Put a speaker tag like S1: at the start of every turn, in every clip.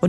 S1: och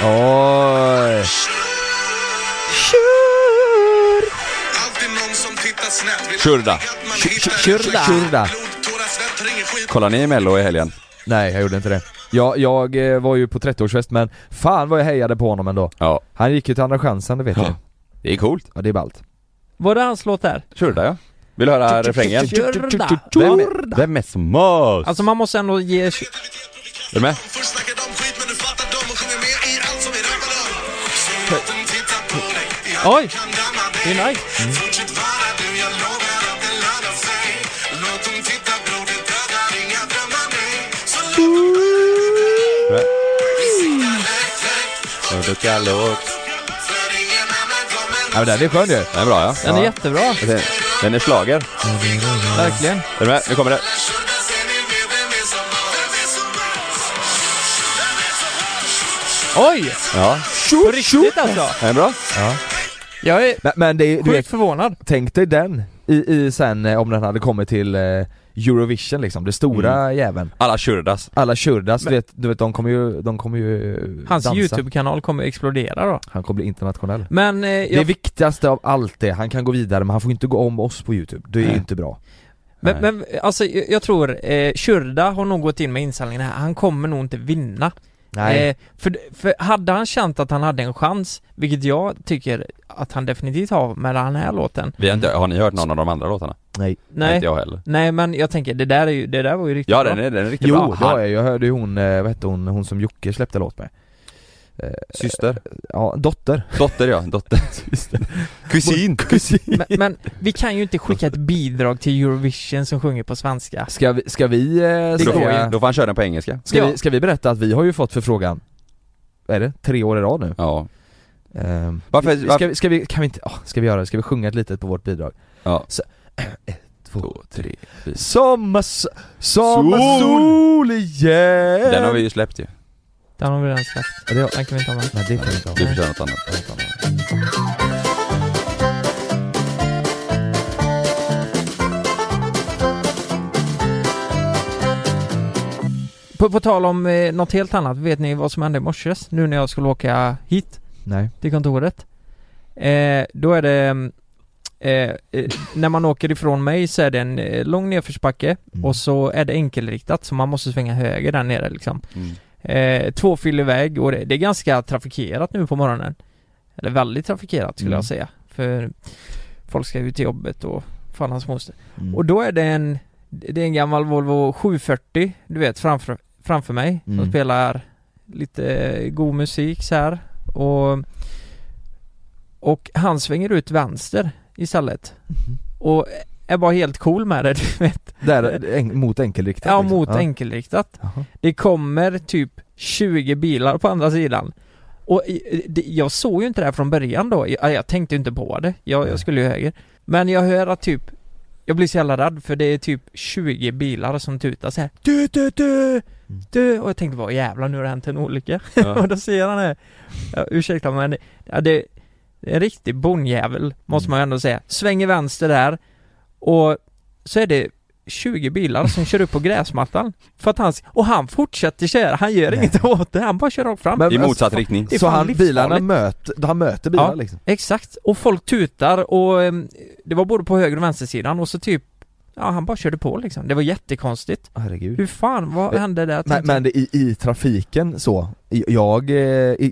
S2: Oj!
S3: Alltid någon som tittar snett. Vill
S2: Kurda.
S3: aldrig att man
S2: Kur-
S3: hittar
S2: kur-
S3: en ursäkt.
S2: kurda.
S3: Blod, tårar, svett, ringer skit.
S2: Kollar ni Mello i helgen?
S4: Nej, jag gjorde inte det. Jag, jag eh, var ju på 30-årsfest men fan vad jag hejade på honom ändå.
S2: Ja.
S4: Han gick ju till Andra chansen, det vet jag.
S2: Det är coolt.
S4: Ja, det är ballt.
S5: Var det hans låt där?
S2: Kurda ja. Vill du höra refrängen?
S5: Kurda.
S2: Vem, är- vem är smartast?
S5: Alltså man måste ändå ge...
S2: Är du med?
S3: Först snackar de skit men nu fattar de och sjunger med i allt som vi rappar om. Soldaten tittar på dig. Jag
S5: Oj.
S3: kan damma dig.
S5: Det är nice.
S3: Mm. Fortsätt vara du, jag lovar att det lönar sig. Låt dem titta bror, det dödar inga drömmar nej. Så låt dem
S2: Nej.
S3: sikta lätt, lätt.
S2: Och du kan lågt.
S3: För ingen annan kommer
S4: Ja, men den är skön ju.
S2: Den är bra ja.
S5: Den är jättebra.
S2: Den- Den är slager.
S5: Verkligen.
S2: Är du med? Nu kommer det.
S3: Kurda, ser ni med? Vem är som har? Vem är som har?
S5: Oj!
S2: Ja.
S5: På riktigt alltså.
S2: Den är bra.
S5: Jag är
S4: Men, men det, är- du
S5: sjukt
S4: vet,
S5: förvånad.
S4: tänk dig den i, i sen eh, om den hade kommit till eh, Eurovision liksom, det stora
S2: Mm.
S4: jäveln.
S2: Alla kurdas.
S4: Alla Shurdas, du vet, du vet de kommer ju, de kommer ju eh,
S5: Hans
S4: dansa.
S5: YouTube-kanal kommer explodera då.
S4: Han kommer bli internationell.
S5: Men eh,
S4: Det
S5: jag,
S4: viktigaste av allt är, han kan gå vidare men han får inte gå om oss på youtube, det är ju inte bra.
S5: men, men alltså, jag jag tror, eh, Kyrda har nog gått in med inställningen här, han kommer nog inte vinna.
S4: Nej.
S5: Eh, för, för hade han känt att han hade en chans, vilket jag tycker att han definitivt har med den här låten.
S2: Vi har, inte, har ni hört någon av de andra låtarna?
S4: Nej.
S2: Inte
S5: Nej,
S2: jag heller.
S5: nej men jag tänker, det där, är ju, det där var ju riktigt
S2: Ja
S5: bra.
S2: den är, den är riktigt
S4: Jo,
S2: bra.
S4: det har jag, jag hörde ju hon, eh, vad hette hon, hon som Jocke släppte låt med. Eh,
S2: Syster.
S4: Ja, dotter.
S2: Dotter ja. Dotter. Kusin. Kusin.
S5: Men, men vi kan ju inte skicka ett bidrag till Eurovision som sjunger på svenska.
S4: Ska vi, ska vi, eh,
S2: Då,
S5: går
S4: säga-
S5: ju.
S2: då får han köra den på engelska.
S4: ska,
S5: Ja.
S4: vi ska vi berätta att vi har ju fått förfrågan, vad är det, tre år i rad nu?
S2: Ja.
S4: Ehm,
S2: Varför-
S4: vi-
S2: varför-
S4: Ska, vi- ska vi, kan vi inte, åh, ska vi göra det? Ska vi sjunga ett litet på vårt bidrag?
S2: Ja.
S4: Så, ett, två,
S2: Två, tre, fyra.
S4: Sommars, sommarsol igen!
S2: Den har vi ju släppt ju.
S5: Den har vi redan släppt.
S4: Ja, det har-
S5: Den kan vi inte ha med.
S4: Nej det kan vi inte ha.
S2: Du får köra något annat.
S5: På, på tal om eh, något helt annat, vet ni vad som hände i morse? Nu när jag skulle åka hit
S4: Nej.
S5: till kontoret. Eh, då är det... mm, Eh, eh, när man åker ifrån mig så är det en eh, lång nedförsbacke
S4: Mm.
S5: och så är det enkelriktat så man måste svänga höger där nere liksom.
S2: Mm.
S5: Eh, tvåfilig väg och det, det är ganska trafikerat nu på morgonen. Eller väldigt trafikerat skulle
S4: Mm.
S5: jag säga. För folk ska ut till jobbet och fan hans moster.
S4: Mm.
S5: Och då är det en, det är en gammal Volvo 740, du vet, framför, framför mig. Som
S4: Mm.
S5: spelar lite god musik så här. Och, och han svänger ut vänster istället.
S4: Mhm.
S5: Och är bara helt cool med det, du vet.
S4: Där, en, mot enkelriktat?
S5: Ja,
S4: liksom.
S5: mot enkelriktat.
S4: Jaha.
S5: Det kommer typ 20 bilar på andra sidan. Och i- det- jag såg ju inte det här från början då, jag, jag tänkte ju inte på det. Jag, jag skulle ju höger. Men jag hör att typ, jag blir så jävla rädd för det är typ 20 bilar som tutar så här. Du, du, du, du. Och jag tänkte bara jävlar nu har det hänt en olycka.
S2: Ja.
S5: och då ser han det. Ja, ursäkta men, det- ja, det det är en riktig bonjävel måste man ju ändå säga. Svänger vänster där och så är det 20 bilar som kör upp på gräsmattan. För att han, och han fortsätter köra, han gör
S4: Nej.
S5: inget åt det, han bara kör rakt fram.
S4: Men-
S2: I motsatt riktning.
S5: Det är
S4: Så
S5: fan
S4: han,
S5: livsfarligt.
S4: bilarna möter, han möter bilarna
S5: Ja.
S4: liksom?
S5: ehm, Exakt, och folk tutar och eh, det var både på höger och vänstersidan och så typ ja, han bara körde på liksom. Det var jättekonstigt.
S4: Herregud.
S5: Hur fan, vad
S4: Men-
S5: hände där?
S4: Men, men det- i, i trafiken så, i- jag, eh,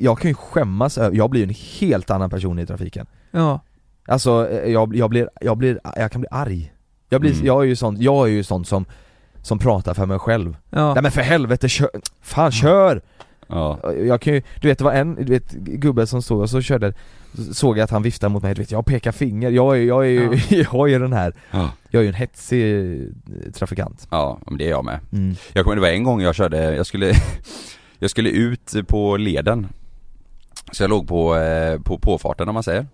S4: jag kan ju skämmas över, jag blir ju en helt annan person i trafiken
S5: Ja,
S4: Alltså eh, jag, jag blir, jag blir, jag kan bli arg Jag blir,
S2: Mm.
S4: jag är ju sån, jag är ju sån som, som pratar för mig själv
S5: ja.
S4: Nej men för helvete kör, fan kör!
S2: Ja.
S4: Jag kan ju, du vet det var en, du vet gubbe som stod och så körde, så- såg jag att han viftade mot mig, du vet jag pekar finger, jag är, jag är ju, jag är ju den här,
S2: Ja.
S4: jag är ju en hetsig eh, trafikant
S2: ja, men det är jag med.
S4: mm.
S2: Jag kommer, det var en gång jag körde, jag skulle, jag skulle ut på leden. Så jag låg på, eh, på påfarten om man säger.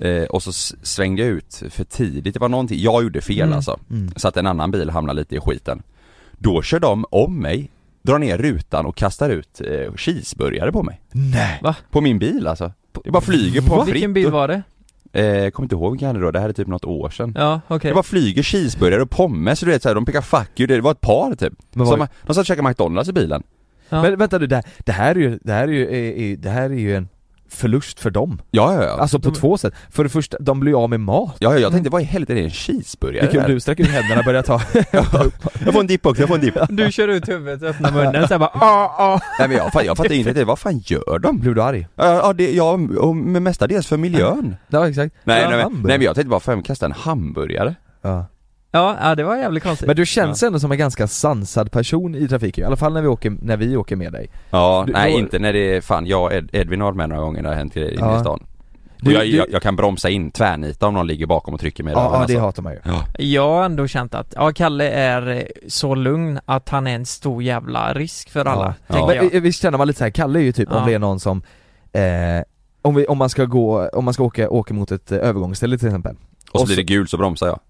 S2: Eh, och så s- svängde jag ut för tidigt, det var någonting, jag gjorde fel
S4: Mm.
S2: alltså.
S4: Mm.
S2: Så att en annan bil hamnade lite i skiten. Då kör de om mig, drar ner rutan och kastar ut eh, cheeseburgare på mig.
S4: Nej!
S2: På min bil alltså. Det bara flyger
S5: Va?
S2: på
S5: Vilken bil var det?
S2: Eh, kommer inte ihåg vilken jag hade då, det här är typ något år sedan.
S5: Ja, okej.
S2: Det bara flyger cheeseburgare och pommes, du vet såhär, de pekar 'fuck you' det var ett par typ.
S4: Men var-
S2: Som, de satt och käkade McDonalds i bilen.
S5: Ja.
S4: Men vänta du, det här, det här är ju, det här är ju, är, är, det här är ju en förlust för dem.
S2: Ja, ja, ja.
S4: Alltså på två sätt. För det första, de blir av med mat.
S2: ja, ja jag tänkte, vad i helvete är det en cheeseburgare?
S4: Det är kul,
S2: där?
S4: du sträcker ut händerna och börjar ta...
S2: Jag får en dipp också, jag får en dipp.
S5: Du kör ut huvudet, öppnar munnen såhär bara ah, ah.
S2: Nej men jag, fan, jag fattar inte, det. vad fan gör de?
S4: Blev du arg?
S2: Ja, ja, det, ja och men mestadels för miljön.
S4: Ja exakt.
S2: Nej,
S4: Ja,
S2: nej, men,
S4: hamburgare.
S2: nej men jag tänkte bara, fan kasta en hamburgare?
S4: Ja.
S5: Ja, ja det var jävligt konstigt.
S4: Men du känns ändå som en ganska sansad person i trafiken, i alla fall när vi åker, när vi åker med dig.
S2: Ja,
S4: Du-
S2: nej
S4: då-
S2: inte när det är, fan jag och Ed, Edvin har varit med några gånger när det har hänt grejer inne
S4: Ja.
S2: i stan. Och
S4: Du-
S2: jag,
S4: du-
S2: jag, jag kan bromsa in, tvärnita om någon ligger bakom och trycker mig i röven,
S4: Ja, ja det
S2: alltså.
S4: hatar man ju.
S2: Ja.
S5: Jag har ändå känt att, ja Kalle är eh, så lugn att han är en stor jävla risk för alla,
S2: Ja.
S5: tänker
S4: Men
S5: jag.
S4: eh, visst känner man lite så här, Kalle är ju typ om
S5: Ja.
S4: det är någon som, eh, om, vi, om man ska gå, om man ska åka, åka mot ett eh, övergångsställe till exempel.
S2: Och så
S4: Och
S2: blir
S4: så-
S2: det gul så bromsar jag.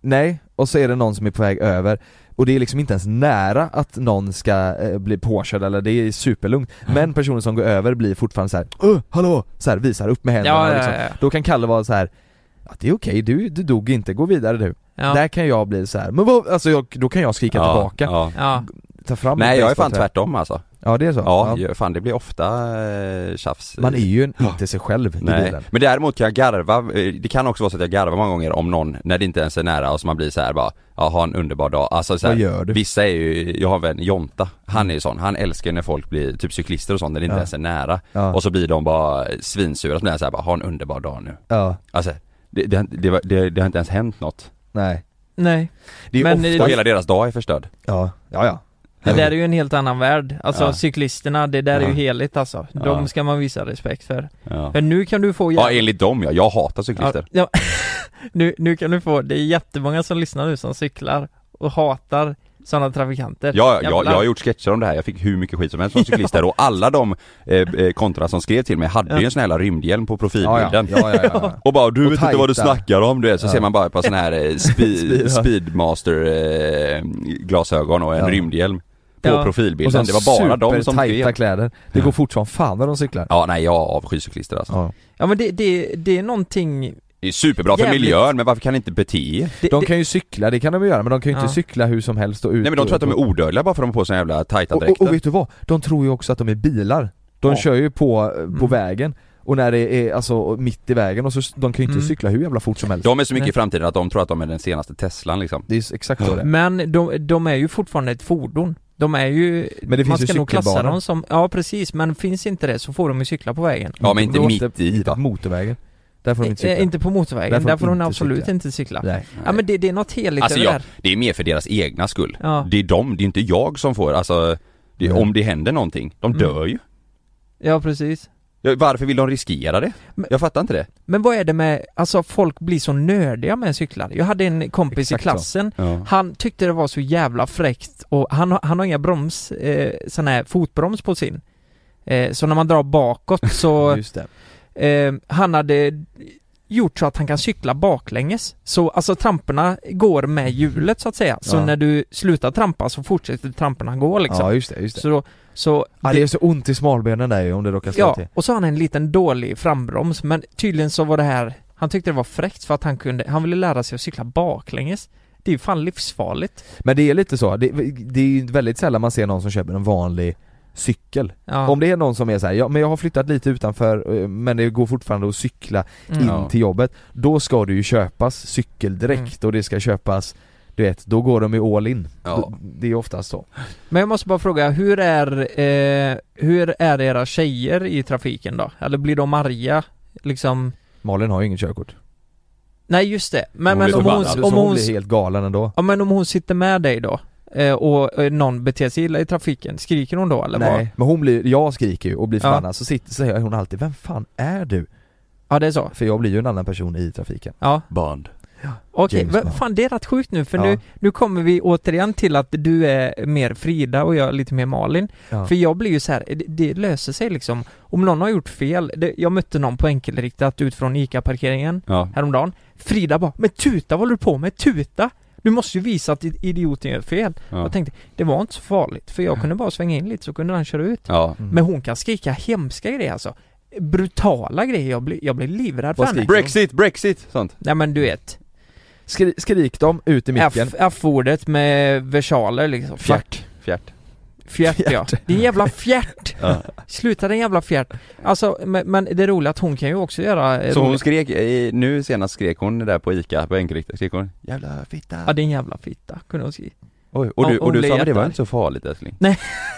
S4: Nej, och så är det någon som är på väg över och det är liksom inte ens nära att någon ska eh, bli påkörd eller det är superlugnt
S2: Mm.
S4: Men personen som går över blir fortfarande så här, "Åh, hallå! Så här, visar upp med händerna
S5: Ja,
S4: och
S5: ja,
S4: liksom.
S5: ja, ja.
S4: Då kan Kalle vara så här. Ja, det är okej, du, du dog inte, gå vidare du
S5: Ja.
S4: Där kan jag bli så här. men vad, alltså jag, då kan jag skrika
S2: ja,
S4: tillbaka,
S2: Ja.
S5: Ja.
S4: ta fram
S2: Nej
S4: ett
S2: jag är fan
S4: basebollträ.
S2: tvärtom alltså.
S4: Ja det är så?
S2: Ja, ja. fan det blir ofta eh, tjafs.
S4: Man är ju en, inte sig själv i
S2: Nej,
S4: bilen
S2: men däremot kan jag garva, eh, det kan också vara så att jag garvar många gånger om någon när det inte ens är nära och så man blir så här bara, ja ha en underbar dag. Alltså så här,
S4: Vad gör du? Mm.
S2: vissa är ju, jag har en vän, Jonta, han är ju sån, han älskar när folk blir, typ cyklister och sånt när det inte
S4: Ja.
S2: ens är nära.
S4: Ja.
S2: Och så blir de bara svinsura, så blir jag så här bara, ha en underbar dag nu.
S4: Ja,
S2: Alltså, det, det, det, var- det, det har inte ens hänt något.
S4: nej
S5: Nej.
S4: Det är
S5: Men eh,
S4: ju
S5: det-
S4: ofta,
S2: Och hela deras dag är förstörd.
S4: ja, ja, ja.
S5: Det där är ju en helt annan värld. Alltså
S2: Ja.
S5: cyklisterna, det där är
S2: Ja.
S5: ju heligt alltså.
S2: Ja.
S5: De ska man visa respekt för.
S2: Ja.
S5: För nu kan du få
S2: ja, enligt dem ja, jag hatar cyklister.
S5: Ja, ja. nu, nu kan du få, det är jättemånga som lyssnar nu som cyklar och hatar sådana trafikanter.
S2: Ja, ja, jag,
S5: Jävlar.
S2: jag har gjort sketcher om det här, jag fick hur mycket skit som helst från cyklister och alla de eh, eh, kontorna som skrev till mig hade ju en sån här jävla rymdhjälm på
S4: Ja, ja, ja,
S2: profilbilden
S4: ja, ja, ja.
S2: Och bara du
S4: Och
S2: vet inte vad du
S4: tajta.
S2: snackar om du vet, så
S4: Ja.
S2: ser man bara på sån här eh, speed,
S4: Speed, ja.
S2: speedmaster eh, glasögon och en
S4: Ja.
S2: rymdhjälm På
S5: Ja.
S4: Och sen
S2: profilbilden, det var bara de som
S4: supertajta
S2: skrev
S4: kläder. Det går fort som fan när de cyklar.
S2: Ja nej jag avskyr cyklister alltså.
S4: Ja.
S5: Ja men det, det, det är någonting...
S2: Det är superbra för
S5: Jävligt.
S2: miljön men varför kan ni inte bete er?
S5: Det,
S4: De
S5: det,
S4: kan ju cykla, det kan de ju göra, men de kan ju inte
S5: Ja.
S4: cykla hur som helst och ut
S2: Nej men de tror att de är odödliga bara för att de har på sig jävla tajta
S4: och, och, och
S2: dräkter
S4: vet du vad? De tror ju också att de är bilar. De
S2: Ja. Mm.
S4: kör ju på, på vägen, och när det är alltså mitt i vägen, och så, de kan ju inte
S5: Mm.
S4: cykla hur jävla fort som helst.
S2: De är så mycket
S5: Nej.
S2: i framtiden att de tror att de är den senaste Teslan liksom
S4: Det är ju exakt så det är.
S5: Men de, de är ju fortfarande ett fordon. De är ju...
S4: Men det
S5: man
S4: finns ju
S5: ska nog klassa
S4: cykelbanor.
S5: dem som... Ja precis, men finns inte det så får de ju cykla på vägen.
S2: Ja men inte
S4: Då
S2: mitt i va?
S4: Motorvägen. Där får de inte
S5: Eh,
S4: cykla.
S5: inte på motorvägen,
S4: Där
S5: där
S4: får
S5: får,
S4: de
S5: de
S4: inte
S5: absolut
S4: cykla.
S5: inte cykla.
S4: Nej.
S5: Ja men det, det är något heligt
S2: Alltså
S5: över
S2: jag,
S5: det här.
S2: det är mer för deras egna skull.
S5: Ja.
S2: Det är de, det är inte jag som får, alltså det,
S4: Mm.
S2: om det händer någonting, de
S5: Mm.
S2: dör ju.
S5: Ja precis.
S2: Ja, Varför vill de riskera det?
S5: Men-
S2: jag fattar inte det.
S5: Men vad är det med, alltså folk blir så nördiga med cyklar. Jag hade en kompis
S4: Exakt så.
S5: i klassen, han tyckte det var så jävla fräckt och han, har- han har inga broms, eh, sån här fotbroms på sin. Eh, så när man drar bakåt så,
S4: Just det.
S5: eh, han hade gjort så att han kan cykla baklänges. Så alltså tramporna går med hjulet så att säga. Så
S4: Ja.
S5: när du slutar trampa så fortsätter tramporna gå liksom.
S4: Ja just det, just det.
S5: Så då, så
S4: ja, det är så ont i smalbenen där ju om det råkar slå
S5: Ja,
S4: till.
S5: och så har han en liten dålig frambroms men tydligen så var det här Han tyckte det var fräckt för att han kunde, han ville lära sig att cykla baklänges Det är ju fan livsfarligt
S4: Men det är lite så, det, det är ju väldigt sällan man ser någon som köper en vanlig cykel.
S5: ja.
S4: Om det är någon som är så här, ja, men jag har flyttat lite utanför eh, men det går fortfarande att cykla
S5: Mm.
S4: in
S2: Ja.
S5: Mm.
S4: till jobbet Då ska det ju köpas cykeldräkt och det ska köpas du vet, då går de ju all in.
S2: Ja.
S4: Det är oftast så.
S5: Men jag måste bara fråga, hur är, eh, hur är era tjejer i trafiken då? Eller blir de arga? Liksom?
S4: Malin har ju inget körkort.
S5: Nej just det, men,
S2: Hon
S5: men
S2: blir
S5: om hon,
S2: förbannad.
S4: så
S5: om
S4: hon
S5: hon,
S4: blir helt galen ändå.
S5: ja, men om hon sitter med dig då? eh, Och eh, någon beter sig illa i trafiken, skriker hon då eller vad?
S4: Nej, men hon blir, jag skriker ju och blir
S5: Ja.
S4: förbannad så sitter, säger hon alltid 'Vem fan är du?'
S5: Ja det är så?
S4: För jag blir ju en annan person i trafiken.
S5: Ja,
S2: Bond.
S5: okej.
S4: James
S5: Men
S4: Bond.
S5: Fan det är rätt sjukt nu för
S4: Ja.
S5: nu, nu kommer vi återigen till att du är mer Frida och jag är lite mer Malin.
S4: Ja.
S5: För jag blir ju så här, eh, det, det löser sig liksom. Om någon har gjort fel, det, jag mötte någon på enkelriktat ut från ICA-parkeringen
S2: Ja.
S5: häromdagen. Frida bara 'Men tuta, vad håller du på med? Tuta! Du måste ju visa att i- idioten gör fel'
S2: Ja.
S5: Jag tänkte, det var inte så farligt för jag kunde bara svänga in lite så kunde han köra ut
S2: ja.
S4: Mm.
S5: Men hon kan skrika hemska grejer alltså Brutala grejer, jag blir, jag blir livrädd för
S4: Vad
S5: henne
S4: skriker hon?
S2: Brexit, Brexit! Sånt.
S5: Nej men du vet
S4: Skri, skrik dem ut i micken.
S5: F- F-ordet med versaler liksom
S2: Fjärt. Fjärt.
S5: Fjärt, ja. Din jävla fjärt!
S2: Ja.
S5: Sluta din jävla fjärt! Alltså, men, men det roliga är att hon kan ju också göra... eh,
S2: Så hon
S5: roligt.
S2: skrek, eh, nu senast skrek hon där på ICA, på enkelriktat, skrek hon 'Jävla
S5: Ja,
S2: fitta'
S5: din jävla fitta, kunde hon skrika
S2: Oj, och du,
S5: Ja, hon
S2: och du
S5: blev
S2: sa men det var
S5: jättearg.
S2: inte så farligt älskling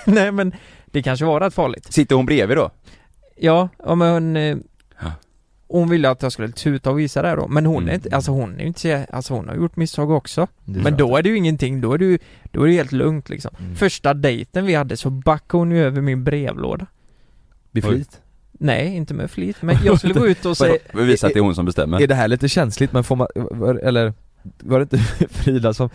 S5: Nej men, det kanske var rätt farligt
S2: Sitter hon bredvid då?
S5: Ja, ja men hon... eh,
S2: Ja.
S5: Hon ville att jag skulle tuta och visa det här då, men hon är
S2: Mm.
S5: inte, alltså hon är ju inte, så- alltså hon har gjort misstag också
S4: Det
S5: Men
S4: tror
S5: då är det ju ingenting, då är det ju, då är det helt lugnt liksom.
S4: Mm.
S5: Första dejten vi hade så backade hon ju över min brevlåda.
S4: jag. Med flit.
S5: Nej, inte med flit, men jag skulle gå ut och säga
S2: Vi visar att det är hon som bestämmer
S4: Är
S5: eh,
S4: det här lite känsligt men får man, var, eller var det inte Frida som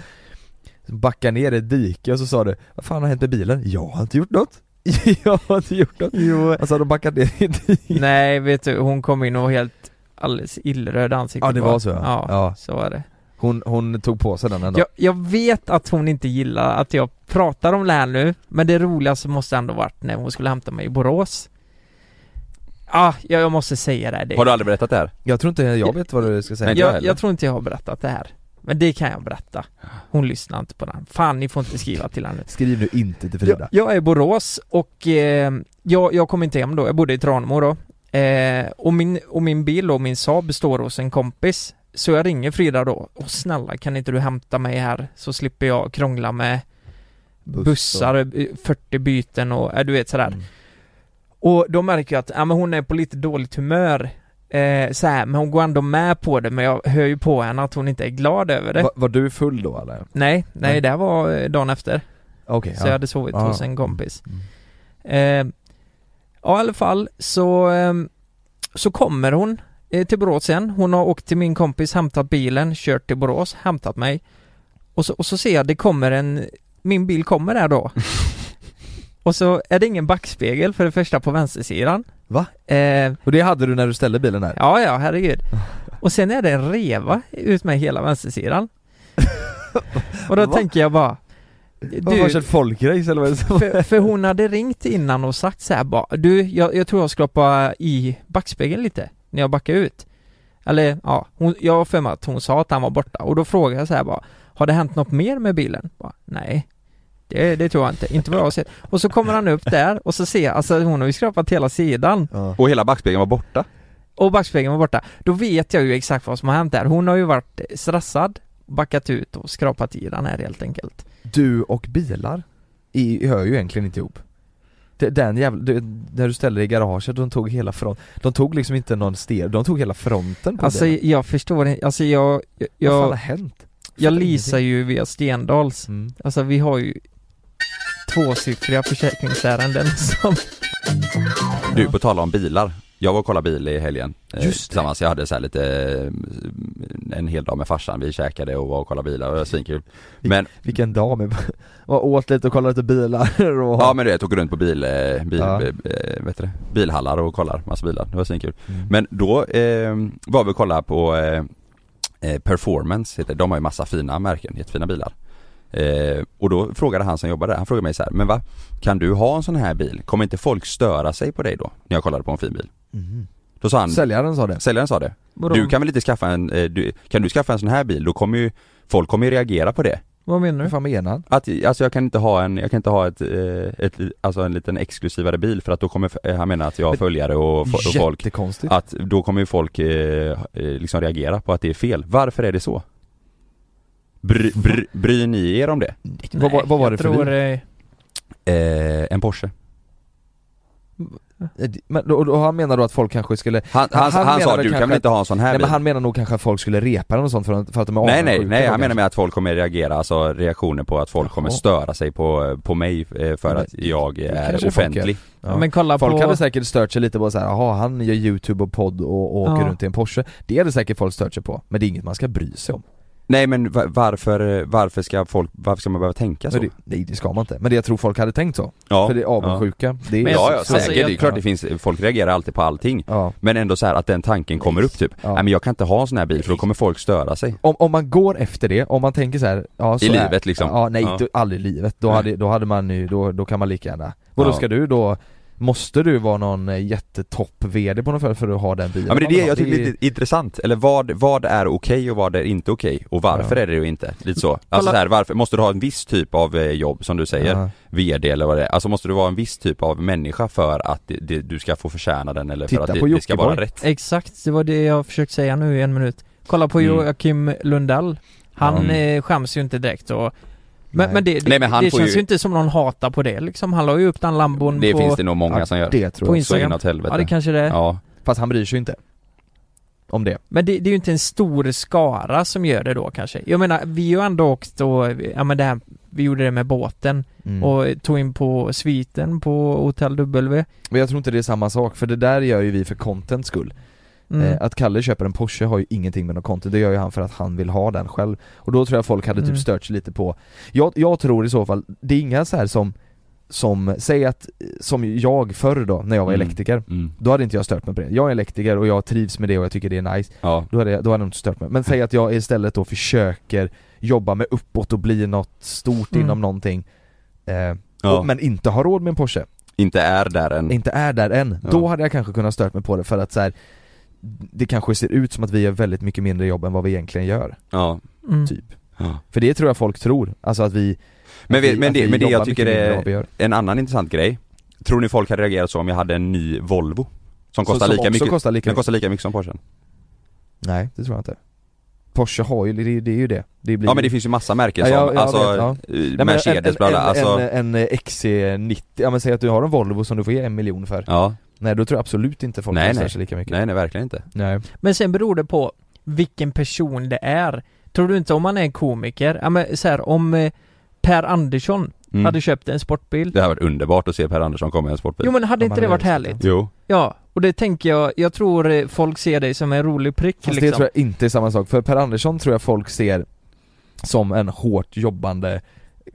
S4: som backade ner i ett dike och så sa du 'Vad fan har hänt med bilen?' 'Jag har inte gjort något' 'Jag har inte gjort något'
S5: Jo.
S4: Alltså de backat ner i ett dike
S5: Nej, vet du, hon kom in och var helt alldeles illröd i ansiktet
S4: Ja det
S5: bara.
S4: var så
S5: Ja,
S4: ja. ja.
S5: så var det.
S4: Hon, hon tog på sig den ändå
S5: Jag, jag vet att hon inte gillar att jag pratar om det här nu, men det roligaste måste ändå varit när hon skulle hämta mig i Borås. Ah, jag, jag måste säga det. här, det
S2: Har du aldrig berättat det här?
S4: Jag tror inte jag vet vad du ska säga
S2: Nej,
S4: jag,
S2: jag
S5: jag,
S2: heller.
S5: jag tror inte jag har berättat det här. Men det kan jag berätta. Hon lyssnar inte på den. Fan, ni får inte skriva till henne.
S4: Skriv nu inte till Frida
S5: Jag, jag är i Borås och eh, jag, jag kom inte hem då. Jag bodde i Tranemo då. Eh, och, min, och min bil och min Saab står hos en kompis. Så jag ringer Frida då. Och snälla kan inte du hämta mig här så slipper jag krångla med
S4: Buss
S5: bussar, eh, 40 byten och äh, du vet sådär. Och då märker jag att ja, men hon är på lite dåligt humör. Eh, så här, men hon går ändå med på det men jag hör ju på henne att hon inte är glad över det.
S4: Va, Var du full då eller?
S5: Nej, nej
S4: Nej.
S5: det här var eh, dagen efter.
S4: Okej,
S5: Så jag hade sovit
S4: Ja.
S5: hos en kompis.
S4: Mm.
S5: Eh, ja, i alla fall så, eh, så kommer hon eh, till Borås sen. Hon har åkt till min kompis, hämtat bilen, kört till Borås, hämtat mig. Och så, och så ser jag, det kommer en, min bil kommer där då. och så är det ingen backspegel för det första på vänstersidan.
S4: Va?
S5: Eh,
S4: Och det hade du när du ställde bilen där?
S5: ja, ja, herregud. Och sen är det en reva ut med hela vänstersidan. och då
S4: Va?
S5: tänker jag bara...
S4: Vad var det ett folkrace eller vad är det som-
S5: För, för hon hade ringt innan och sagt så här bara Du, jag, jag tror jag ska hoppa i backspegeln lite när jag backar ut Eller ja, hon, jag har för mig att hon sa att han var borta och då frågade jag så här bara Har det hänt något mer med bilen? Bara, Nej det, det tror jag inte, inte vad jag har sett. Och så kommer han upp där och så ser jag, alltså hon har ju skrapat hela sidan
S4: Ja.
S2: Och hela backspegeln var borta?
S5: och backspegeln var borta. Då vet jag ju exakt vad som har hänt där. Hon har ju varit stressad, backat ut och skrapat i den här helt enkelt.
S4: Du och bilar i, hör ju egentligen inte ihop Det- den jävla, du, när du ställde dig i garaget, de tog hela front, de tog liksom inte någon ster, de tog hela fronten på
S5: Alltså
S4: bilen.
S5: jag förstår inte, alltså jag, jag,
S4: Vad fan har
S5: jag,
S4: hänt?
S5: jag
S4: fattar
S5: leasar ju via Stendals.
S4: Mm.
S5: Alltså vi har ju tvåsiffriga försäkringsärenden som...
S2: Du, på tala om bilar Jag var och kollade bil i helgen eh,
S4: Just det.
S2: Tillsammans, jag hade så här lite eh, En hel dag med farsan, vi käkade och var och kollade bilar, det var svinkul Men,
S4: Vilken dag med, och åt lite och kollade lite bilar och
S2: ja men du vet, åker runt på bil, eh, bil,
S4: Ja.
S2: eh, vet du det? bilhallar och kollar massa bilar, det var svinkul
S4: Mm.
S2: Men då eh, var vi och kollade på eh, eh, Performance, heter det. de har ju massa fina märken, jättefina bilar. Eh, och då frågade han som jobbade där, han frågade mig så här, men va, kan du ha en sån här bil? Kommer inte folk störa sig på dig då? När jag kollade på en fin bil.
S4: Mm.
S2: Då sa han,
S4: Säljaren
S5: Mm.
S4: sa det.
S2: säljaren sa det, du kan väl inte skaffa en, eh, du, kan du skaffa en sån här bil? Då kommer ju, folk kommer ju reagera på det.
S5: Vad menar
S4: Vad
S5: du?
S4: fan menar han?
S2: Att, alltså jag kan inte ha en, jag kan inte ha ett, eh, ett alltså en liten exklusivare bil för att då kommer, f- han menar att jag har
S4: Men-
S2: följare och, fo- och folk
S4: Jättekonstigt.
S2: att då kommer ju folk eh, eh, liksom reagera på att det är fel. Varför är det så? Bry, bry, bryr ni er om det?
S4: Vad var- vad var det för
S5: jag tror,
S4: bil?
S5: eh,
S2: Eh, en Porsche.
S4: Eh, Men, och, och han menar då att folk kanske skulle,
S2: Han,
S4: Han
S2: han, han,
S4: menar
S2: sa
S4: väl
S2: du kan
S4: kanske
S2: väl inte ha en sån här
S4: nej
S2: bil?
S4: men han menar nog kanske att folk skulle repa den och sånt för, att- för att de är
S2: Nej nej,
S4: avundsjuka
S2: nej
S4: då
S2: han menar
S4: kanske.
S2: med att folk kommer reagera, alltså reaktioner på att folk kommer
S4: Jaha.
S2: störa sig på, på mig eh, för
S4: Men
S2: att jag
S4: kanske
S2: är
S4: folk gör.
S2: offentlig.
S4: Ja.
S5: Men kolla
S4: Folk
S5: på...
S4: hade säkert stört sig lite på såhär, jaha han gör youtube och podd och, och åker
S5: Ja.
S4: runt i en Porsche Det hade säkert folk stört sig på, men det är inget man ska bry sig om
S2: Nej men va- varför, varför ska folk, varför ska man behöva tänka så?
S4: Men det, Alltså, Nej det ska man inte, men det jag tror folk hade tänkt så,
S2: ja.
S4: för det är avundsjuka det är,
S5: Men
S2: Ja, ja
S5: Alltså,
S2: säkert,
S5: jag-
S2: det är klart det finns, folk reagerar alltid på allting.
S4: Ja.
S2: Men ändå så här att den tanken kommer upp typ,
S4: Ja.
S2: nej men jag kan inte ha en sån här bil för då kommer folk störa sig.
S4: Om, om man går efter det, om man tänker så här, ja, så
S2: I
S4: är-
S2: livet, liksom.
S4: Ja, nej
S2: Ja.
S4: Då, aldrig i livet, då
S2: Nej.
S4: hade, då hade man ju, då, då kan man lika gärna Vadå
S2: Ja.
S4: ska du då, måste du vara någon eh, jättetopp VD på något företag för att ha den bilen?
S2: Ja men det är det jag tycker
S4: är-
S2: är lite intressant, eller vad, vad är okej och vad är inte okej och varför
S4: Ja.
S2: är det det inte? Lite så. Alltså så här, varför, måste du ha en viss typ av eh, jobb som du säger?
S4: Ja.
S2: VD eller vad det är, alltså måste du vara en viss typ av människa för att det, det, du ska få förtjäna den eller
S4: Titta
S2: för att
S4: på
S2: det, det ska vara
S4: Jockiboi.
S2: rätt?
S5: Exakt, det var det jag försökt säga nu i en minut. Kolla på
S2: Mm.
S5: Joakim Lundell. Han
S2: Mm.
S5: eh, skäms ju inte direkt och... Men,
S4: Nej.
S5: men det, det,
S2: Nej, men han
S5: det
S2: får
S5: känns ju...
S2: ju-
S5: inte som någon hatar på det liksom. Han la ju upp den lambon
S2: Det
S5: på...
S2: finns det nog många
S4: ja,
S2: som gör.
S4: Det tror jag,
S5: på
S2: Så
S5: Instagram.
S2: inåt helvete.
S5: Ja det kanske det är.
S2: Ja.
S4: fast han bryr sig ju inte Om det
S5: Men det, det är ju inte en stor skara som gör det då kanske. Jag menar, vi har ju ändå åkt och, ja men det här, vi gjorde det med båten
S4: Mm.
S5: och tog in på sviten på Hotell W.
S4: Men jag tror inte det är samma sak, för det där gör ju vi för contents skull
S5: Mm.
S4: eh, Att Kalle köper en Porsche har ju ingenting med något content, det gör ju han för att han vill ha den själv Och då tror jag folk hade
S5: Mm.
S4: typ stört sig lite på jag, jag tror i så fall, det är inga så här som, som, säg att, som jag förr då, när jag var
S2: Mm.
S4: elektriker
S2: Mm.
S4: Då hade inte jag stört mig på det, jag är elektriker och jag trivs med det och jag tycker det är nice
S2: ja.
S4: Då hade jag, då hade jag inte stört mig, men säg att jag istället då försöker jobba mig uppåt och bli något stort
S5: Mm.
S4: inom någonting eh,
S2: Ja.
S4: och, Men inte har råd med en Porsche
S2: Inte är där än.
S4: inte är där än,
S2: Ja.
S4: då hade jag kanske kunnat stört mig på det för att så här, det kanske ser ut som att vi gör väldigt mycket mindre jobb än vad vi egentligen gör,
S2: Ja.
S5: Mm.
S4: typ.
S2: Ja.
S4: För det tror jag folk tror, alltså att vi
S2: Men
S4: att
S2: vi- men
S4: att
S2: det- men det jag
S4: jobbar
S2: tycker
S4: mycket mindre
S2: är-
S4: än vad vi gör.
S2: En annan intressant grej. Tror ni folk hade reagerat så om jag hade en ny Volvo? Som kostar
S4: Så-
S2: lika
S4: också
S2: mycket,
S4: Kostar lika
S2: den
S4: mycket.
S2: kostar lika mycket som Porschen.
S4: Nej, det tror jag inte. Porsche har ju, det, är- det är ju det. det blir
S2: Ja men det finns ju massa märken
S4: Ja,
S2: som,
S4: jag- jag
S2: alltså,
S4: vet, ja.
S2: eh,
S4: Nej, men
S2: Mercedes bla bla, alltså,
S4: en, en, eh, en XC90, ja men säg att du har en Volvo som du får ge en miljon för.
S2: ja,
S4: Nej då tror jag absolut inte folk
S2: Nej,
S4: kostar
S2: nej.
S4: sig lika mycket.
S2: nej nej verkligen inte.
S4: nej.
S5: Men sen beror det på vilken person det är. Tror du inte om man är en komiker, ja men så här, om eh, Per Andersson
S2: Mm.
S5: hade köpt en sportbil.
S2: Det hade varit underbart att se Per Andersson komma i en sportbil.
S5: Jo men
S4: Om
S5: hade inte
S4: han
S5: det
S4: hade
S5: varit
S4: önskat
S5: härligt?
S4: det.
S2: Jo.
S5: Ja, och det tänker jag, jag tror eh, folk ser dig som en rolig prick
S4: Fast
S5: liksom.
S4: det tror jag inte är samma sak, för Per Andersson tror jag folk ser som en hårt jobbande